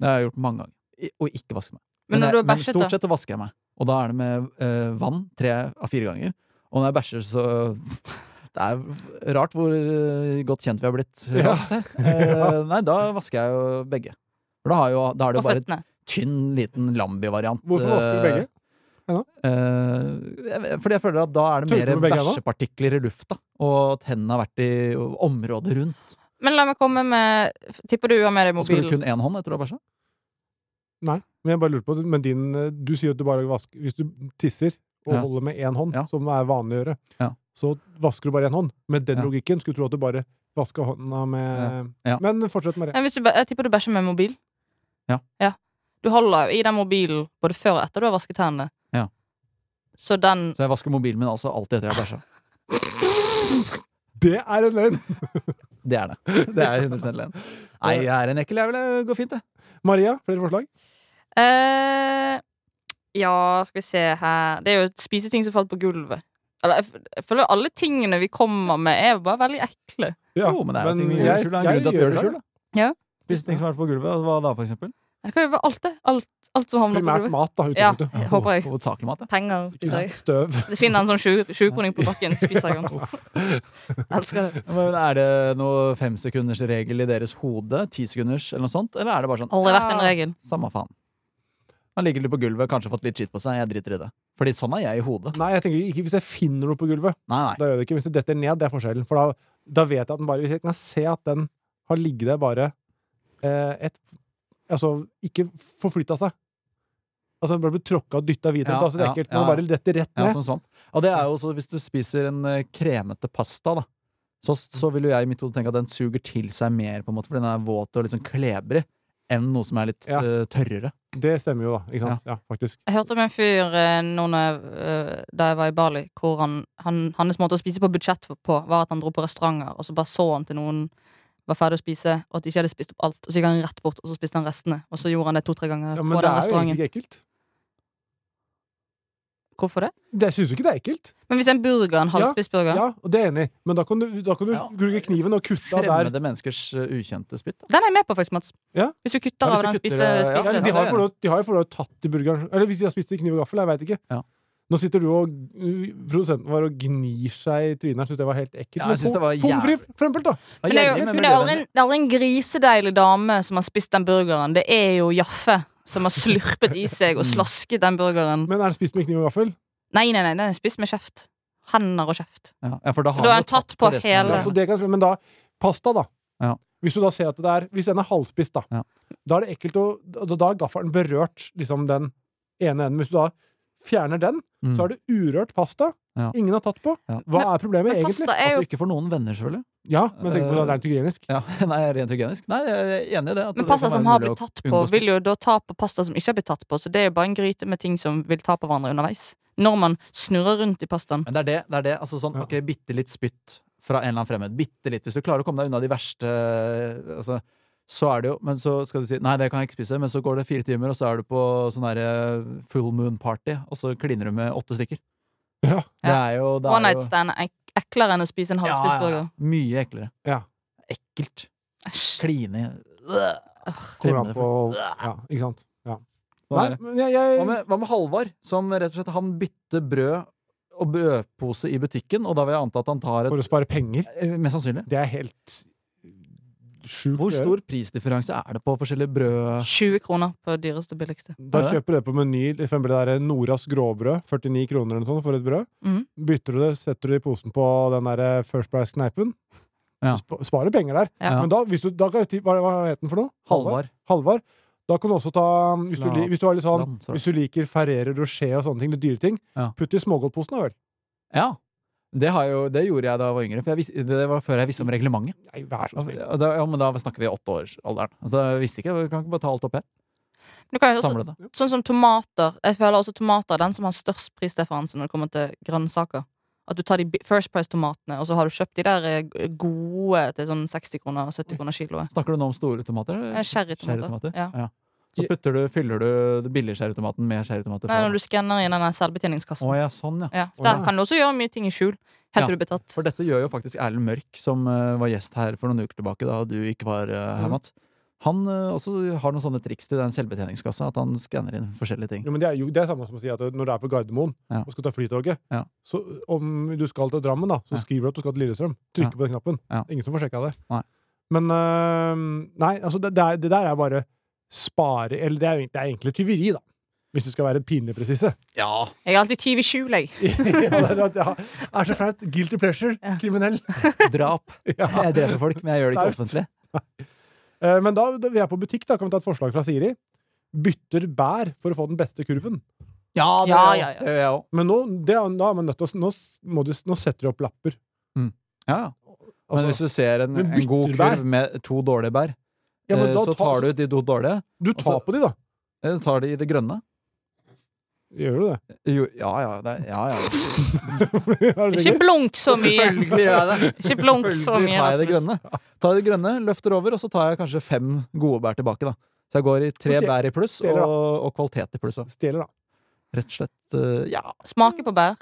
S2: Det har jeg gjort mange ganger. I, og ikke vaske meg.
S4: Men når
S2: jeg-
S4: du har bæsjet,
S2: stort
S4: da?
S2: sett så vasker jeg meg. Og da er det med eh, vann tre av fire ganger. Og når jeg bæsjer, så Det er rart hvor eh, godt kjent vi har blitt
S3: Ja.
S2: raskt her. Eh, nei, da vasker jeg jo begge. For da, har jo, da er det
S4: På
S2: jo bare
S4: føttene?
S2: tynn, liten Lambi-variant.
S3: Hvorfor vasker du begge?
S2: Eh, jeg vet- fordi jeg føler at da er det
S3: Tørker
S2: mer
S3: du begge hendene?
S2: bæsjepartikler i lufta, og at hendene har vært i området rundt.
S4: Men la meg komme med Tipper du har med deg
S2: Og skal du
S4: mobilen?
S2: kun én hånd etter å ha bæsja?
S3: Nei, men jeg bare lurer på Men din, eh, du sier at du bare vasker Hvis du tisser og
S2: Ja.
S3: holder med én hånd,
S2: Ja.
S3: som er vanlig å gjøre,
S2: Ja.
S3: så vasker du bare én hånd. Med den
S2: Ja.
S3: logikken skulle du tro at du bare vasker hånda med
S2: Ja. Ja.
S3: Men fortsett med det.
S4: Nei, hvis du, bæ- jeg tipper du bæsjer med mobil.
S2: Ja.
S4: Du holder jo i den mobilen både før og etter du har vasket hendene.
S2: Ja.
S4: Så den
S2: Så jeg vasker mobilen min altså alltid etter jeg har bæsja.
S3: Det er en løgn!
S2: Det er det. Det er 100 løgn. Nei, jeg er en ekkel. Jeg vil gå fint, jeg.
S3: Maria, flere forslag?
S4: eh, Ja, skal vi se her Det er jo et spiseting som falt på gulvet. Eller, jeg, f- jeg føler alle tingene vi kommer med, er jo bare veldig ekle.
S3: Ja,
S2: Jo, men det er jo
S3: men
S2: ting vi gjør i
S3: jeg-
S2: skjul. Det er en grunn til at vi
S3: jeg
S2: gjør det i
S3: gjør
S2: skjul.
S3: det.
S2: da.
S4: Ja.
S2: Spise ting som er på gulvet, og hva da, for eksempel?
S4: Det kan jo være alt, det. Alt, alt som havner på
S3: Primært
S4: gulvet.
S3: mat, da.
S4: Ja,
S3: utgangspunktet.
S4: håper jeg.
S2: Hovedsakelig mat, ja.
S4: Penger.
S3: Ikke
S4: sier jeg.
S3: støv.
S4: Det finner en sånn sju- sjukroning på bakken, spiser jeg den. Elsker det.
S2: Men er det noe femsekundersregel i deres hode? Tisekunders, eller noe sånt? Eller er det bare sånn
S4: Aldri vært en
S2: "Ah,
S4: regel.
S2: Samme faen. Han ligger litt på gulvet, kanskje fått litt skitt på seg. Jeg driter i det. Fordi sånn er jeg i hodet.
S3: Nei, jeg tenker ikke hvis jeg finner noe på gulvet.
S2: Nei, nei.
S3: Da gjør jeg det ikke. Hvis det detter ned, det er forskjellen. For da, da vet jeg at den bare Hvis jeg kan se at den har ligget der bare eh, et Altså, ikke forflytta seg. Altså, den bare blir tråkka og dytta videre.
S2: Ja,
S3: da, så det er
S2: ja,
S3: ekkelt.
S2: ja.
S3: Når den bare detter rett
S2: Ja,
S3: ned.
S2: som svamp. Og det er jo også hvis du spiser en eh, kremete pasta, da. Så, så vil jo jeg i mitt hode tenke at den suger til seg mer, på en måte, for den er våt og litt sånn klebrig, enn noe som er litt
S3: Ja.
S2: eh, tørrere.
S3: Det stemmer jo, da. Ikke sant? Ja, faktisk.
S4: Jeg hørte om en fyr eh, nå når jeg, eh, da jeg var i Bali, hvor han, han, hans måte å spise på budsjett på, var at han dro på restauranter, og så bare så han til noen var ferdig å spise, og at de ikke hadde spist opp alt. Og så gikk han rett bort, og så spiste han restene. Og så gjorde han det to-tre ganger
S3: Ja,
S4: på
S3: men det
S4: den
S3: er jo
S4: restauranten.
S3: egentlig ikke ekkelt.
S4: Hvorfor det?
S3: Det syns du ikke det er ekkelt?
S4: Men hvis en burger, en
S3: Ja,
S4: halvspist burger
S3: Ja, og det er jeg enig i. Men da kan du, da kan du
S2: Ja.
S3: bruke kniven og kutte av der.
S2: Fremmede menneskers eh, ukjente spytt. Da.
S4: Den er jeg med på, faktisk, Mats.
S3: Ja.
S4: Hvis du kutter
S2: Ja,
S4: av
S2: hvis du
S4: den
S2: kutter,
S4: spise,
S2: eh, ja.
S4: spise
S3: Ja,
S2: det
S3: de
S2: er
S3: har jo
S2: det.
S3: for lov- de har jo for lov tatt i burgeren Eller hvis de har spist i kniv og gaffel, jeg veit ikke.
S2: Ja.
S3: Nå sitter du og uh, produsenten vår og gnir seg i trynet. Jeg syns det var helt ekkelt.
S2: Ja,
S3: Men
S2: jeg synes det
S3: pom-
S2: var
S3: Pommes frites, for eksempel, da.
S2: Ja,
S4: Men det er jo
S2: jævlig,
S4: men det er aldri en, det er aldri en grisedeilig dame som har spist den burgeren. Det er jo Jaffe som har slurpet i seg og slasket den burgeren.
S3: Men er det spist med kniv og gaffel?
S4: Nei, nei, nei, den er spist med kjeft. Hender og kjeft.
S2: Ja, ja, for da
S4: da har
S2: vi jo
S4: han tatt på
S2: resten av
S4: hele-
S3: Ja,
S2: det.
S3: så det kan, men da Pasta, da.
S2: Ja.
S3: Hvis du da ser at det er Hvis den er halvspist, da.
S2: Ja.
S3: Da er det ekkelt å Da da er gaffelen berørt liksom den ene enden. Hvis du da fjerner den,
S2: Mm.
S3: så er det urørt pasta.
S2: Ja.
S3: Ingen har tatt på.
S2: Ja.
S3: Hva er problemet,
S4: Men
S3: egentlig?
S4: pasta er
S2: At
S4: jo
S2: du ikke får noen venner, selvfølgelig.
S3: Ja, men tenk på det, det er hygienisk.
S2: Ja, nei, rent hygienisk. Nei, jeg er enig i det. at
S4: men
S2: det
S4: pasta
S2: kan
S4: som
S2: være
S4: har
S2: mulig å
S4: blitt tatt på,
S2: unngå spytt.
S4: vil jo da ta på pasta som ikke har blitt tatt på. Så det er jo bare en gryte med ting som vil ta på hverandre underveis. Når man snurrer rundt i pastaen.
S2: Men det er det. det, er det. Altså, sånn,
S3: Ja.
S2: ok, Bitte litt spytt fra en eller annen fremmed. Bitte litt. Hvis du klarer å komme deg unna de verste altså, Så er det jo Men så skal du si nei, det kan jeg ikke spise. Men så går det fire timer, og så er du på sånn derre full moon party, og så kliner du med åtte stykker.
S3: Ja.
S2: Det er jo, det
S4: One
S2: er
S4: night
S2: jo
S4: stand er ek- eklere enn å spise en
S2: Ja, ja,
S4: halvspist
S2: ja.
S4: burger.
S2: mye eklere.
S3: Ja.
S2: Ekkelt.
S4: Æsj.
S2: Kline
S3: Kommer an
S2: Fremmede
S3: på Ja, ikke sant. Ja. Nei,
S2: Sånn er det.
S3: men jeg, jeg
S2: Hva med, hva med Halvard, som rett og slett han bytter brød og brødpose i butikken, og da vil jeg anta at han tar et
S3: For å spare penger.
S2: eh, Mest sannsynlig.
S3: Det er helt sjukt.
S2: Hvor
S3: å gjøre.
S2: stor prisdifferanse er det på forskjellige brød...?
S4: 20 kroner på dyreste og billigste.
S3: Da
S2: Er det?
S3: kjøper du det på Meny, for eksempel det der Noras gråbrød, 49 kroner eller noe sånt for et brød.
S4: Mhm.
S3: Bytter du det, setter du det i posen på den der eh, First Price-kneipen.
S2: Ja.
S3: Sp sparer penger der.
S4: Ja.
S3: Men da, hvis du, da kan jeg, ti- hva, hva het den for noe?
S2: Halvard.
S3: Halvar. Da kan du også ta um, Hvis du,
S2: La-
S3: li- hvis du, har litt sånn,
S2: Land, sorry.
S3: hvis du liker Ferrero Rocher og sånne ting, litt dyre ting,
S2: Ja.
S3: putt det i smågodtposen, da vel.
S2: Ja. Det, har jeg jo, det gjorde jeg da jeg var yngre. For jeg visste, det var før jeg visste om reglementet.
S3: Nei, vær så
S2: Og
S3: snill.
S2: Da, ja, men da snakker vi åtteårsalderen. Altså, jeg visste ikke, vi kan ikke bare ta alt opp her.
S4: Du kan jo også,
S2: Samle det.
S4: sånn som tomater. Jeg føler også tomater er den som har størst prisdifferanse når det kommer til grønnsaker. At du tar de bi- First Price-tomatene, og så har du kjøpt de der eh, gode til sånn 60 kroner og 70 kroner kiloet.
S2: Snakker du nå om store tomater? eller?
S4: Eh, Cherrytomater.
S2: Cherrytomater?
S4: Ja.
S2: Ja. Så putter du, fyller du billigcherrytomaten med cherrytomater?
S4: Nei, når du skanner i den der selvbetjeningskassen.
S2: Å ja, sånn, ja.
S4: Ja,
S3: Å,
S4: der
S3: ja.
S4: kan du også gjøre mye ting i skjul. Helt til du
S2: Ja,
S4: blir tatt.
S2: For dette gjør jo faktisk Erlend Mørk, som eh, var gjest her for noen uker tilbake, da du ikke var eh, her,
S3: Mhm.
S2: Mats. Han eh, også har noen sånne triks til den selvbetjeningskassa, at han skanner inn forskjellige ting.
S3: Jo, men det er jo det er samme som å si at når du er på Gardermoen
S2: Ja.
S3: og skal ta flytoget,
S2: Ja.
S3: så om du skal til Drammen, da, så
S2: Ja.
S3: skriver du at du skal til Lillestrøm. Trykker
S2: Ja.
S3: på den knappen.
S2: Ja.
S3: Ingen som får sjekka det.
S2: Nei.
S3: Men øhm, Nei, altså, det, det, er, det der er bare spare Eller det er, jo egentlig- det er egentlig tyveri, da. Hvis du skal være pinlig presise.
S2: Ja!
S4: Jeg er alltid tyv i skjul, jeg.
S3: ja, det er, at jeg er så flaut. Guilty pleasure.
S4: Ja.
S3: Kriminell.
S2: Drap.
S3: Ja.
S2: Jeg dreper folk, men jeg gjør det
S3: Nei.
S2: ikke offentlig.
S3: Eh, Men da da vi er på butikk, da kan vi ta et forslag fra Siri. Bytter bær for å få den beste kurven.
S2: Ja, det
S4: Ja,
S2: gjør jeg
S4: ja, ja.
S2: også. Det gjør jeg òg.
S3: Men nå, det, er- da er man nødt til å Nå, s- må du, s- nå setter du opp lapper.
S2: Ja, ja. Men
S3: Altså-
S2: hvis du ser en,
S3: Men
S2: en god
S3: bytter bær?
S2: kurv med to dårlige bær,
S3: Ja, men
S2: eh,
S3: da
S2: så
S3: ta-
S2: tar du ut de to dårlige,
S3: Du tar
S2: Altså-
S3: på de, da.
S2: eh, tar de i det grønne.
S3: Gjør du det?
S2: Jo, ja, ja, det, er- ja, ja.
S3: Er
S4: Ikke
S3: det sikkert?
S4: blunk så mye.
S2: Selvfølgelig gjør jeg det.
S4: Ikke blunk så
S2: Selvfølgelig
S4: mye.
S2: tar jeg det
S4: Rasmus.
S2: grønne. Tar jeg det grønne, løfter over, og så tar jeg kanskje fem gode bær tilbake, da. Så jeg går i tre
S3: Så stjel-
S2: bær i pluss,
S3: stjeler,
S2: og,
S3: da.
S2: og kvalitet i pluss. da.
S3: Stjeler, da.
S2: Rett og slett eh, ja.
S4: Smake på bær.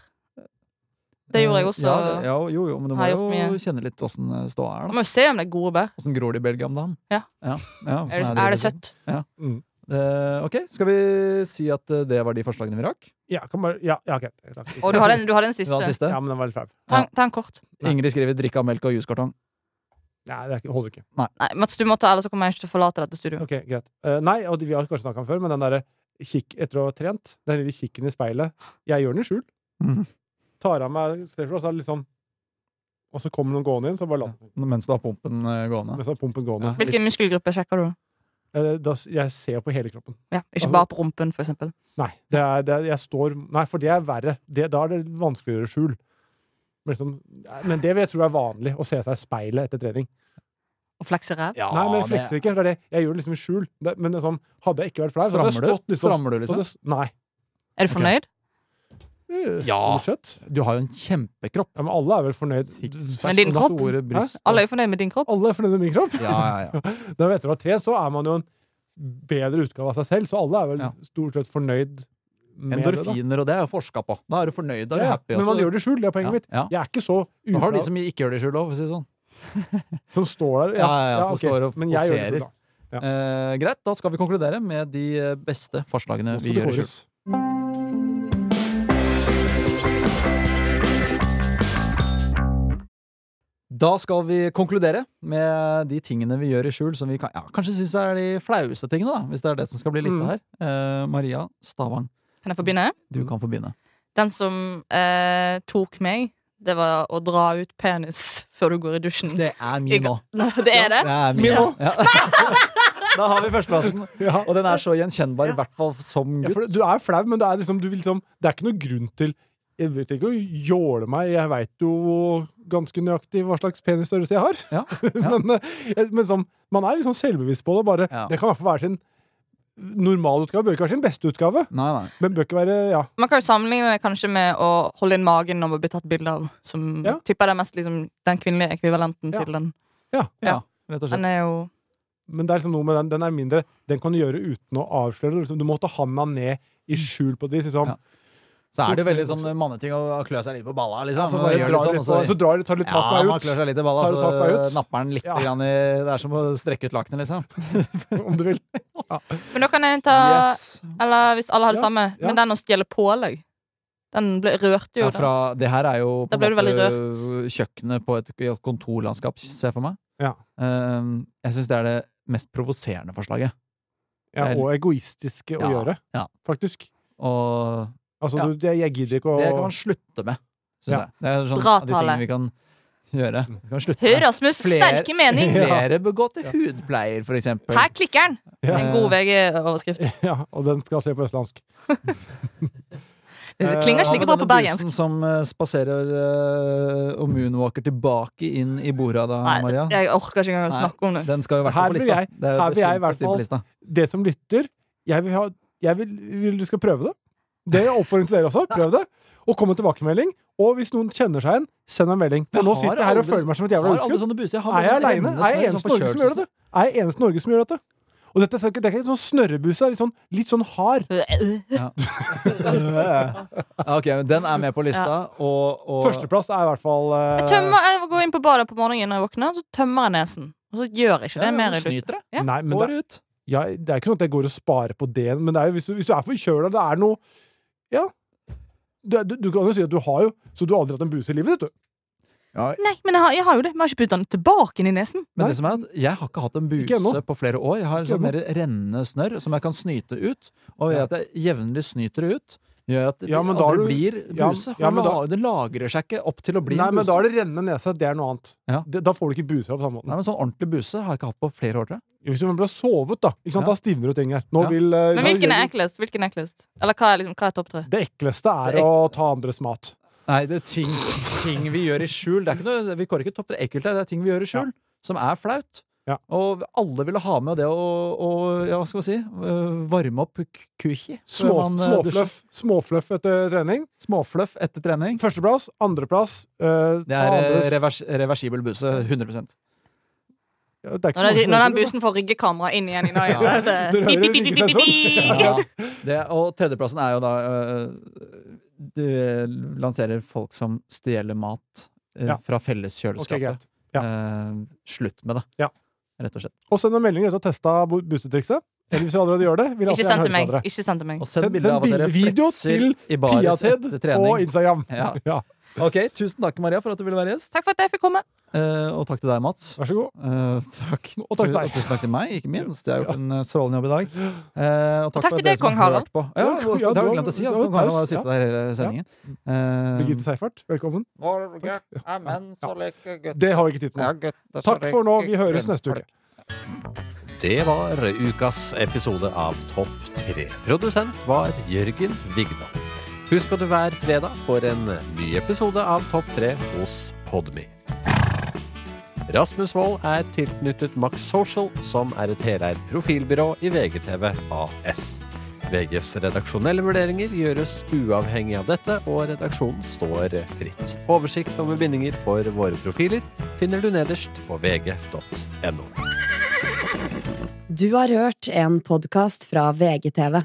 S4: Det gjorde jeg
S2: Eh,
S4: også.
S2: Ja, det- ja, jo, jo, men du må
S4: Har jeg
S2: jo
S4: gjort
S2: kjenne litt åssen eh, ståa er,
S4: Man
S2: da.
S4: må jo se om det er gode bær.
S2: Åssen gror det i Belgia om dagen?
S4: Ja.
S2: ja, ja,
S4: Er,
S2: sånn
S4: er det
S2: liksom.
S4: søtt?
S2: Eh, ok, skal vi si at eh, det var de forslagene vi rakk?
S3: Ja, kan bare, ja, ja ok. Takk.
S4: Og du har den, du har den
S2: Det var den
S4: siste.
S2: siste.
S3: Ja, men den var litt flau.
S4: Ta, ta en kort.
S3: Nei.
S2: Ingrid skriver 'drikk av melk og juskartong'.
S3: Nei, det er ikke- holder ikke.
S4: Nei, Mats, du må ta, ellers så kommer jeg ikke til å forlate dette studioet.
S3: Ok, greit. Eh, nei, og det- vi har kanskje snakket om før, men den derre kikk etter å ha trent, den lille kikken i speilet Jeg gjør den i skjul.
S2: Mhm.
S3: Tar av meg skrevet, og så er det litt sånn Og så kommer noen gående inn, så bare la den
S2: Mens du har pumpen eh, gående.
S3: mens den pumpen gående.
S2: Ja.
S4: Hvilken muskelgruppe sjekker du?
S3: Eh, da, s- jeg ser på hele kroppen.
S4: Ja, ikke
S3: Altså-
S4: bare på rumpen, for eksempel.
S3: Nei, det er, det er, jeg står, nei for det er verre. Det, da er det vanskeligere skjul. Men, liksom, men det vil jeg tro er vanlig, å se seg i speilet etter trening.
S4: Og flekse ræv.
S2: Ja,
S3: Nei, men jeg
S2: det-
S3: flekser ikke. Det er det. Jeg gjør det liksom i skjul. Det, men det er sånn, hadde jeg ikke vært flau, så hadde jeg
S2: Strammer du?
S3: stått liksom,
S2: Strammer du,
S3: så
S2: liksom?
S3: hadde jeg s- Nei.
S4: Er du fornøyd?
S2: Ja.
S3: Stort sett.
S2: Du har jo en kjempekropp.
S3: Ja, men alle er vel fornøyd.
S2: Six.
S4: Men din
S3: Sånn at
S4: kropp?
S3: ordet bryst-
S4: Alle er jo fornøyd med din kropp.
S3: Alle er fornøyd med min kropp.
S2: Ja, ja, ja.
S3: Når etter å ha trent, så er man jo en bedre utgave av seg selv, så alle er vel
S2: Ja.
S3: stort sett fornøyd med det.
S2: Endorfiner, og det er jo forska på. Da er du fornøyd, da
S3: Da.
S2: er du
S3: Ja,
S2: happy.
S3: men man gjør det i skjul, det er poenget mitt.
S2: Ja, ja.
S3: Jeg er ikke så
S2: Du har
S3: uplau-
S2: de som ikke gjør det i skjul òg, for å si det sånn.
S3: som står der.
S2: Ja, ja, ja, som
S3: ok.
S2: står og
S3: Men jeg gjør det
S2: poserer.
S3: i skjul, da. Ja.
S2: Eh, greit, da skal vi konkludere med de eh, beste forslagene
S3: Nå skal
S2: vi
S3: det
S2: gjør i skjul.
S3: kåres.
S2: Da skal vi konkludere med de tingene vi gjør i skjul som vi kan, ja, kanskje syns er de flaueste tingene, da, hvis det er det som skal bli lista
S3: Mm.
S2: her. Eh, Maria Stavang,
S4: Kan jeg få begynne?
S2: du
S3: Mm.
S2: kan få begynne.
S4: Den som eh, tok meg, det var å dra ut penis før du går i dusjen.
S2: Det er min nå.
S4: Det er det?
S2: Det er min
S3: Min
S2: nå. Ja. Da har vi førsteplassen.
S3: Ja.
S2: Og den er så gjenkjennbar, i hvert fall som
S3: Ja,
S2: gutt.
S3: for det- du er flau, men det er, liksom, du vil, liksom, det er ikke noe grunn til Jeg vet ikke å jåle meg, jeg veit jo ganske nøyaktig hva slags penisstørrelse jeg har.
S2: Ja,
S3: men eh, jeg- men sånn, man er liksom selvbevisst på det. Bare,
S2: Ja.
S3: Det kan i hvert fall være sin normalutgave. Bør ikke være sin beste utgave,
S2: Nei, nei.
S3: men bør ikke være ja.
S4: Man kan jo sammenligne det kanskje med å holde inn magen når man blir tatt bilde av. Som
S3: Ja.
S4: tipper det er mest liksom, den kvinnelige ekvivalenten
S3: Ja.
S4: til den.
S2: Ja, rett og slett.
S4: Den er jo
S3: Men det er liksom noe med den, den er mindre. Den kan du gjøre uten å avsløre det. Liksom, du må ta handa ned i skjul på det. Liksom.
S2: Ja. Så er det jo veldig sånn manneting å å klø seg litt på balla, liksom.
S3: Så
S2: Man
S3: bare
S2: gjør
S3: drar
S2: litt
S3: litt
S2: og
S3: på, så drar du tar litt tak
S2: ja,
S3: deg
S2: man klør
S3: ut,
S2: seg litt i balla,
S3: Tar du
S2: så eh,
S3: tak deg ut?
S2: napper den litt
S3: Ja.
S2: grann i Det er som å strekke ut lakenet, liksom.
S3: om du vil.
S4: Men da kan jeg ta
S2: Yes.
S4: Eller hvis alle har det
S3: Ja,
S4: samme.
S3: ja.
S4: Men den å stjele pålegg, den ble, rørte jo
S2: Ja,
S4: den.
S2: fra, det her er jo
S4: Da
S2: på
S4: ble
S2: en
S4: du veldig
S2: måte kjøkkenet på et kontorlandskap, ser jeg for meg.
S3: Ja.
S2: Ehm, jeg syns det er det mest provoserende forslaget.
S3: Ja, og egoistiske å
S2: Ja,
S3: gjøre,
S2: ja.
S3: faktisk.
S2: Og
S3: Altså,
S2: Ja.
S3: du, jeg, jeg gidder ikke å
S2: det kan man slutte med, syns
S3: Ja. Mm.
S2: jeg. Det er sånn
S4: Bra
S2: av de tingene
S4: tale.
S2: vi kan gjøre. Vi kan slutte
S4: Hør,
S2: med.
S4: Rasmus!
S2: Flere-
S4: Sterke mening!
S2: Flere begåtte hudpleier, for eksempel.
S4: Her klikker den!
S3: Ja.
S4: En god VG-overskrift.
S2: Eh,
S3: Ja, og den skal skje på østlandsk.
S4: Det klinger
S2: Ja,
S4: ikke like
S2: men
S4: bra
S2: denne
S4: på bergensk.
S2: busen Eh, som eh, spaserer eh, og moonwalker tilbake inn i bordet da,
S4: Nei,
S2: Maria.
S4: jeg orker ikke engang å
S2: Nei.
S4: snakke om det.
S2: Den skal jo i hvert fall
S3: Her
S2: på
S3: vil
S2: lista.
S3: jeg-
S2: Det er jo
S3: her vil jeg i
S2: definitivt
S3: hvert
S2: på
S3: fall-
S2: lista.
S3: Det som lytter, jeg vil, ha, jeg vil, vil du skal prøve det. Det er oppfordring til dere også. Prøv det. Og kom med tilbakemelding. Og hvis noen kjenner seg igjen, send en melding. For
S2: Jeg
S3: nå
S2: har
S3: sitter jeg her og
S2: aldri-
S3: føler meg som et jævla
S2: Har alle
S3: utskudd.
S2: sånne buser? Jeg har
S3: Er jeg
S2: bare sånne
S3: aleine? Er jeg
S2: emnesnører,
S3: eneste i
S2: sånn
S3: Norge som gjør det? Er jeg eneste i Norge som gjør dette? Og dette skal ikke- det er ikke en sånn snørrebuse, det er litt sånn, litt sånn hard.
S4: Øh,
S2: Ja, Ah, ok, men Den er med på lista, og, og
S3: Førsteplass er i hvert fall eh,
S4: Jeg, tømmer, jeg går inn på badet på morgenen når jeg våkner, så tømmer jeg nesen. Og så gjør jeg ikke det
S2: Ja,
S4: mer.
S2: du
S4: i lutt.
S2: snyter det.
S4: Ja.
S3: Nei, men det,
S2: Går ut.
S3: ja, det er ikke sånn at jeg går og sparer på det, men det er jo, hvis, du, hvis du er forkjøla, det er noe Ja. Du, du, du kan jo si at du har jo Så du har aldri hatt en buse i livet, vet du.
S4: Nei, men jeg har, jeg har jo det. Men jeg har ikke puttet den tilbake inn i nesen.
S2: Men
S3: Nei.
S2: det som er at jeg har ikke hatt en
S3: Ikke ennå.
S2: buse på flere år. Jeg har
S3: Ikke
S2: sånn mer rennende snørr som jeg kan snyte ut. Og ved
S3: Ja.
S2: at jeg jevnlig snyter det ut, gjør at det
S3: Ja, men da
S2: aldri
S3: er du-
S2: blir
S3: Ja,
S2: buse. For
S3: ja, men
S2: det,
S3: da-
S2: la- det lagrer seg ikke opp til å bli
S3: Nei,
S2: en
S3: men da
S2: buse.
S3: er det rennende nese. Det er noe annet.
S2: Ja.
S3: Det, da får du ikke buser av på samme måten.
S2: Nei, men Sånn ordentlig buse har jeg ikke hatt på flere år. tror jeg.
S3: Hvis du ble sovet, da. Ikke sant?
S2: Ja.
S3: Da stivner du ting her. Nå
S2: Ja.
S3: vil, eh,
S4: Men
S3: da
S4: hvilken
S3: gjør
S4: er
S3: du-
S4: eklest? Hvilken er eklest? Eller hva er, liksom, hva er topp tre?
S3: Det ekleste er
S2: Det ek-
S3: å ta andres mat.
S2: Nei, det er ting, ting vi gjør i skjul. Det er ikke noe, vi kårer ikke topp tre ekkelt her. Det er ting vi gjør i skjul, som er flaut.
S3: Ja.
S2: Og alle ville ha med det å å- ja, hva skal man si, øh, varme opp k- kuki. før
S3: Små,
S2: man, øh, dusjer.
S3: småfløff, småfløff etter trening.
S2: Småfløff etter trening.
S3: Førsteplass. Andreplass eh,
S2: Det
S3: ta
S2: er eh,
S3: andres-
S2: revers, reversibel buse. 100
S3: Ja, det er ikke så
S4: Når,
S3: mange
S4: den-
S3: som
S4: når
S3: hører
S4: den
S3: det, da.
S4: bussen får ryggekamera inn igjen i når jeg
S2: Ja.
S4: hører liksom sånn. det.
S3: Du hører
S4: Pip, pip,
S3: det
S4: pip,
S3: ikke
S4: pip, pip, pip.
S2: Ja. Det, og tredjeplassen er jo da øh, Du lanserer folk som stjeler mat øh,
S3: Ja.
S2: fra
S3: Ok,
S2: felleskjøleskapet.
S3: greit. ja.
S2: Eh, slutt med det,
S3: Ja.
S2: rett og slett.
S3: Og send en melding etter å ha testa busetrikset. Eller hvis dere allerede gjør det, vil jeg
S4: Ikke
S3: også gjerne
S4: send
S3: høre
S4: til meg.
S3: fra dere.
S4: Ikke send til meg.
S2: Og send
S3: Send-
S2: bilde av at
S3: send
S2: dere
S3: bilde- video
S2: flekser i baris
S3: Piated
S2: etter
S3: og
S2: trening.
S3: Instagram.
S2: Ja.
S3: Ja.
S2: Ok, Tusen takk, Maria, for at du ville være gjest.
S4: Takk for at jeg fikk komme.
S2: Eh, og takk til deg, Mats.
S3: Vær så god.
S2: Eh, takk.
S3: Og takk til deg.
S2: Og tusen takk til meg, ikke minst. Jeg har gjort en eh, strålende jobb i dag. Eh, og
S4: takk
S2: for
S4: til
S2: dere
S4: deg,
S2: som
S4: kong
S2: har
S4: Harald.
S2: hørt på. Ja, det
S3: Ja,
S2: har
S3: du
S2: jeg
S3: har-
S2: glemt å si.
S3: du
S2: Altså,
S3: har
S2: kong Harald har
S3: taus,
S2: sittet der hele sendingen. Eh,
S3: Birgitte Seifert, velkommen.
S6: Norge er menn så like gutter.
S3: Det har vi ikke tid til
S6: Ja,
S3: nå.
S6: gutter så
S3: Takk for nå.
S6: like
S3: Vi høres neste
S6: kvinner.
S3: uke.
S7: Det var ukas episode av Topp 3. Produsent var Jørgen Vigdal. Husk at du hver fredag får en ny episode av Topp 3 hos Podme. Rasmus Wold er tilknyttet Max Social, som er et heleid profilbyrå i VGTV AS. VGs redaksjonelle vurderinger gjøres uavhengig av dette, og redaksjonen står fritt. Oversikt over bindinger for våre profiler finner du nederst på vg.no.
S8: Du har hørt en podkast fra VGTV.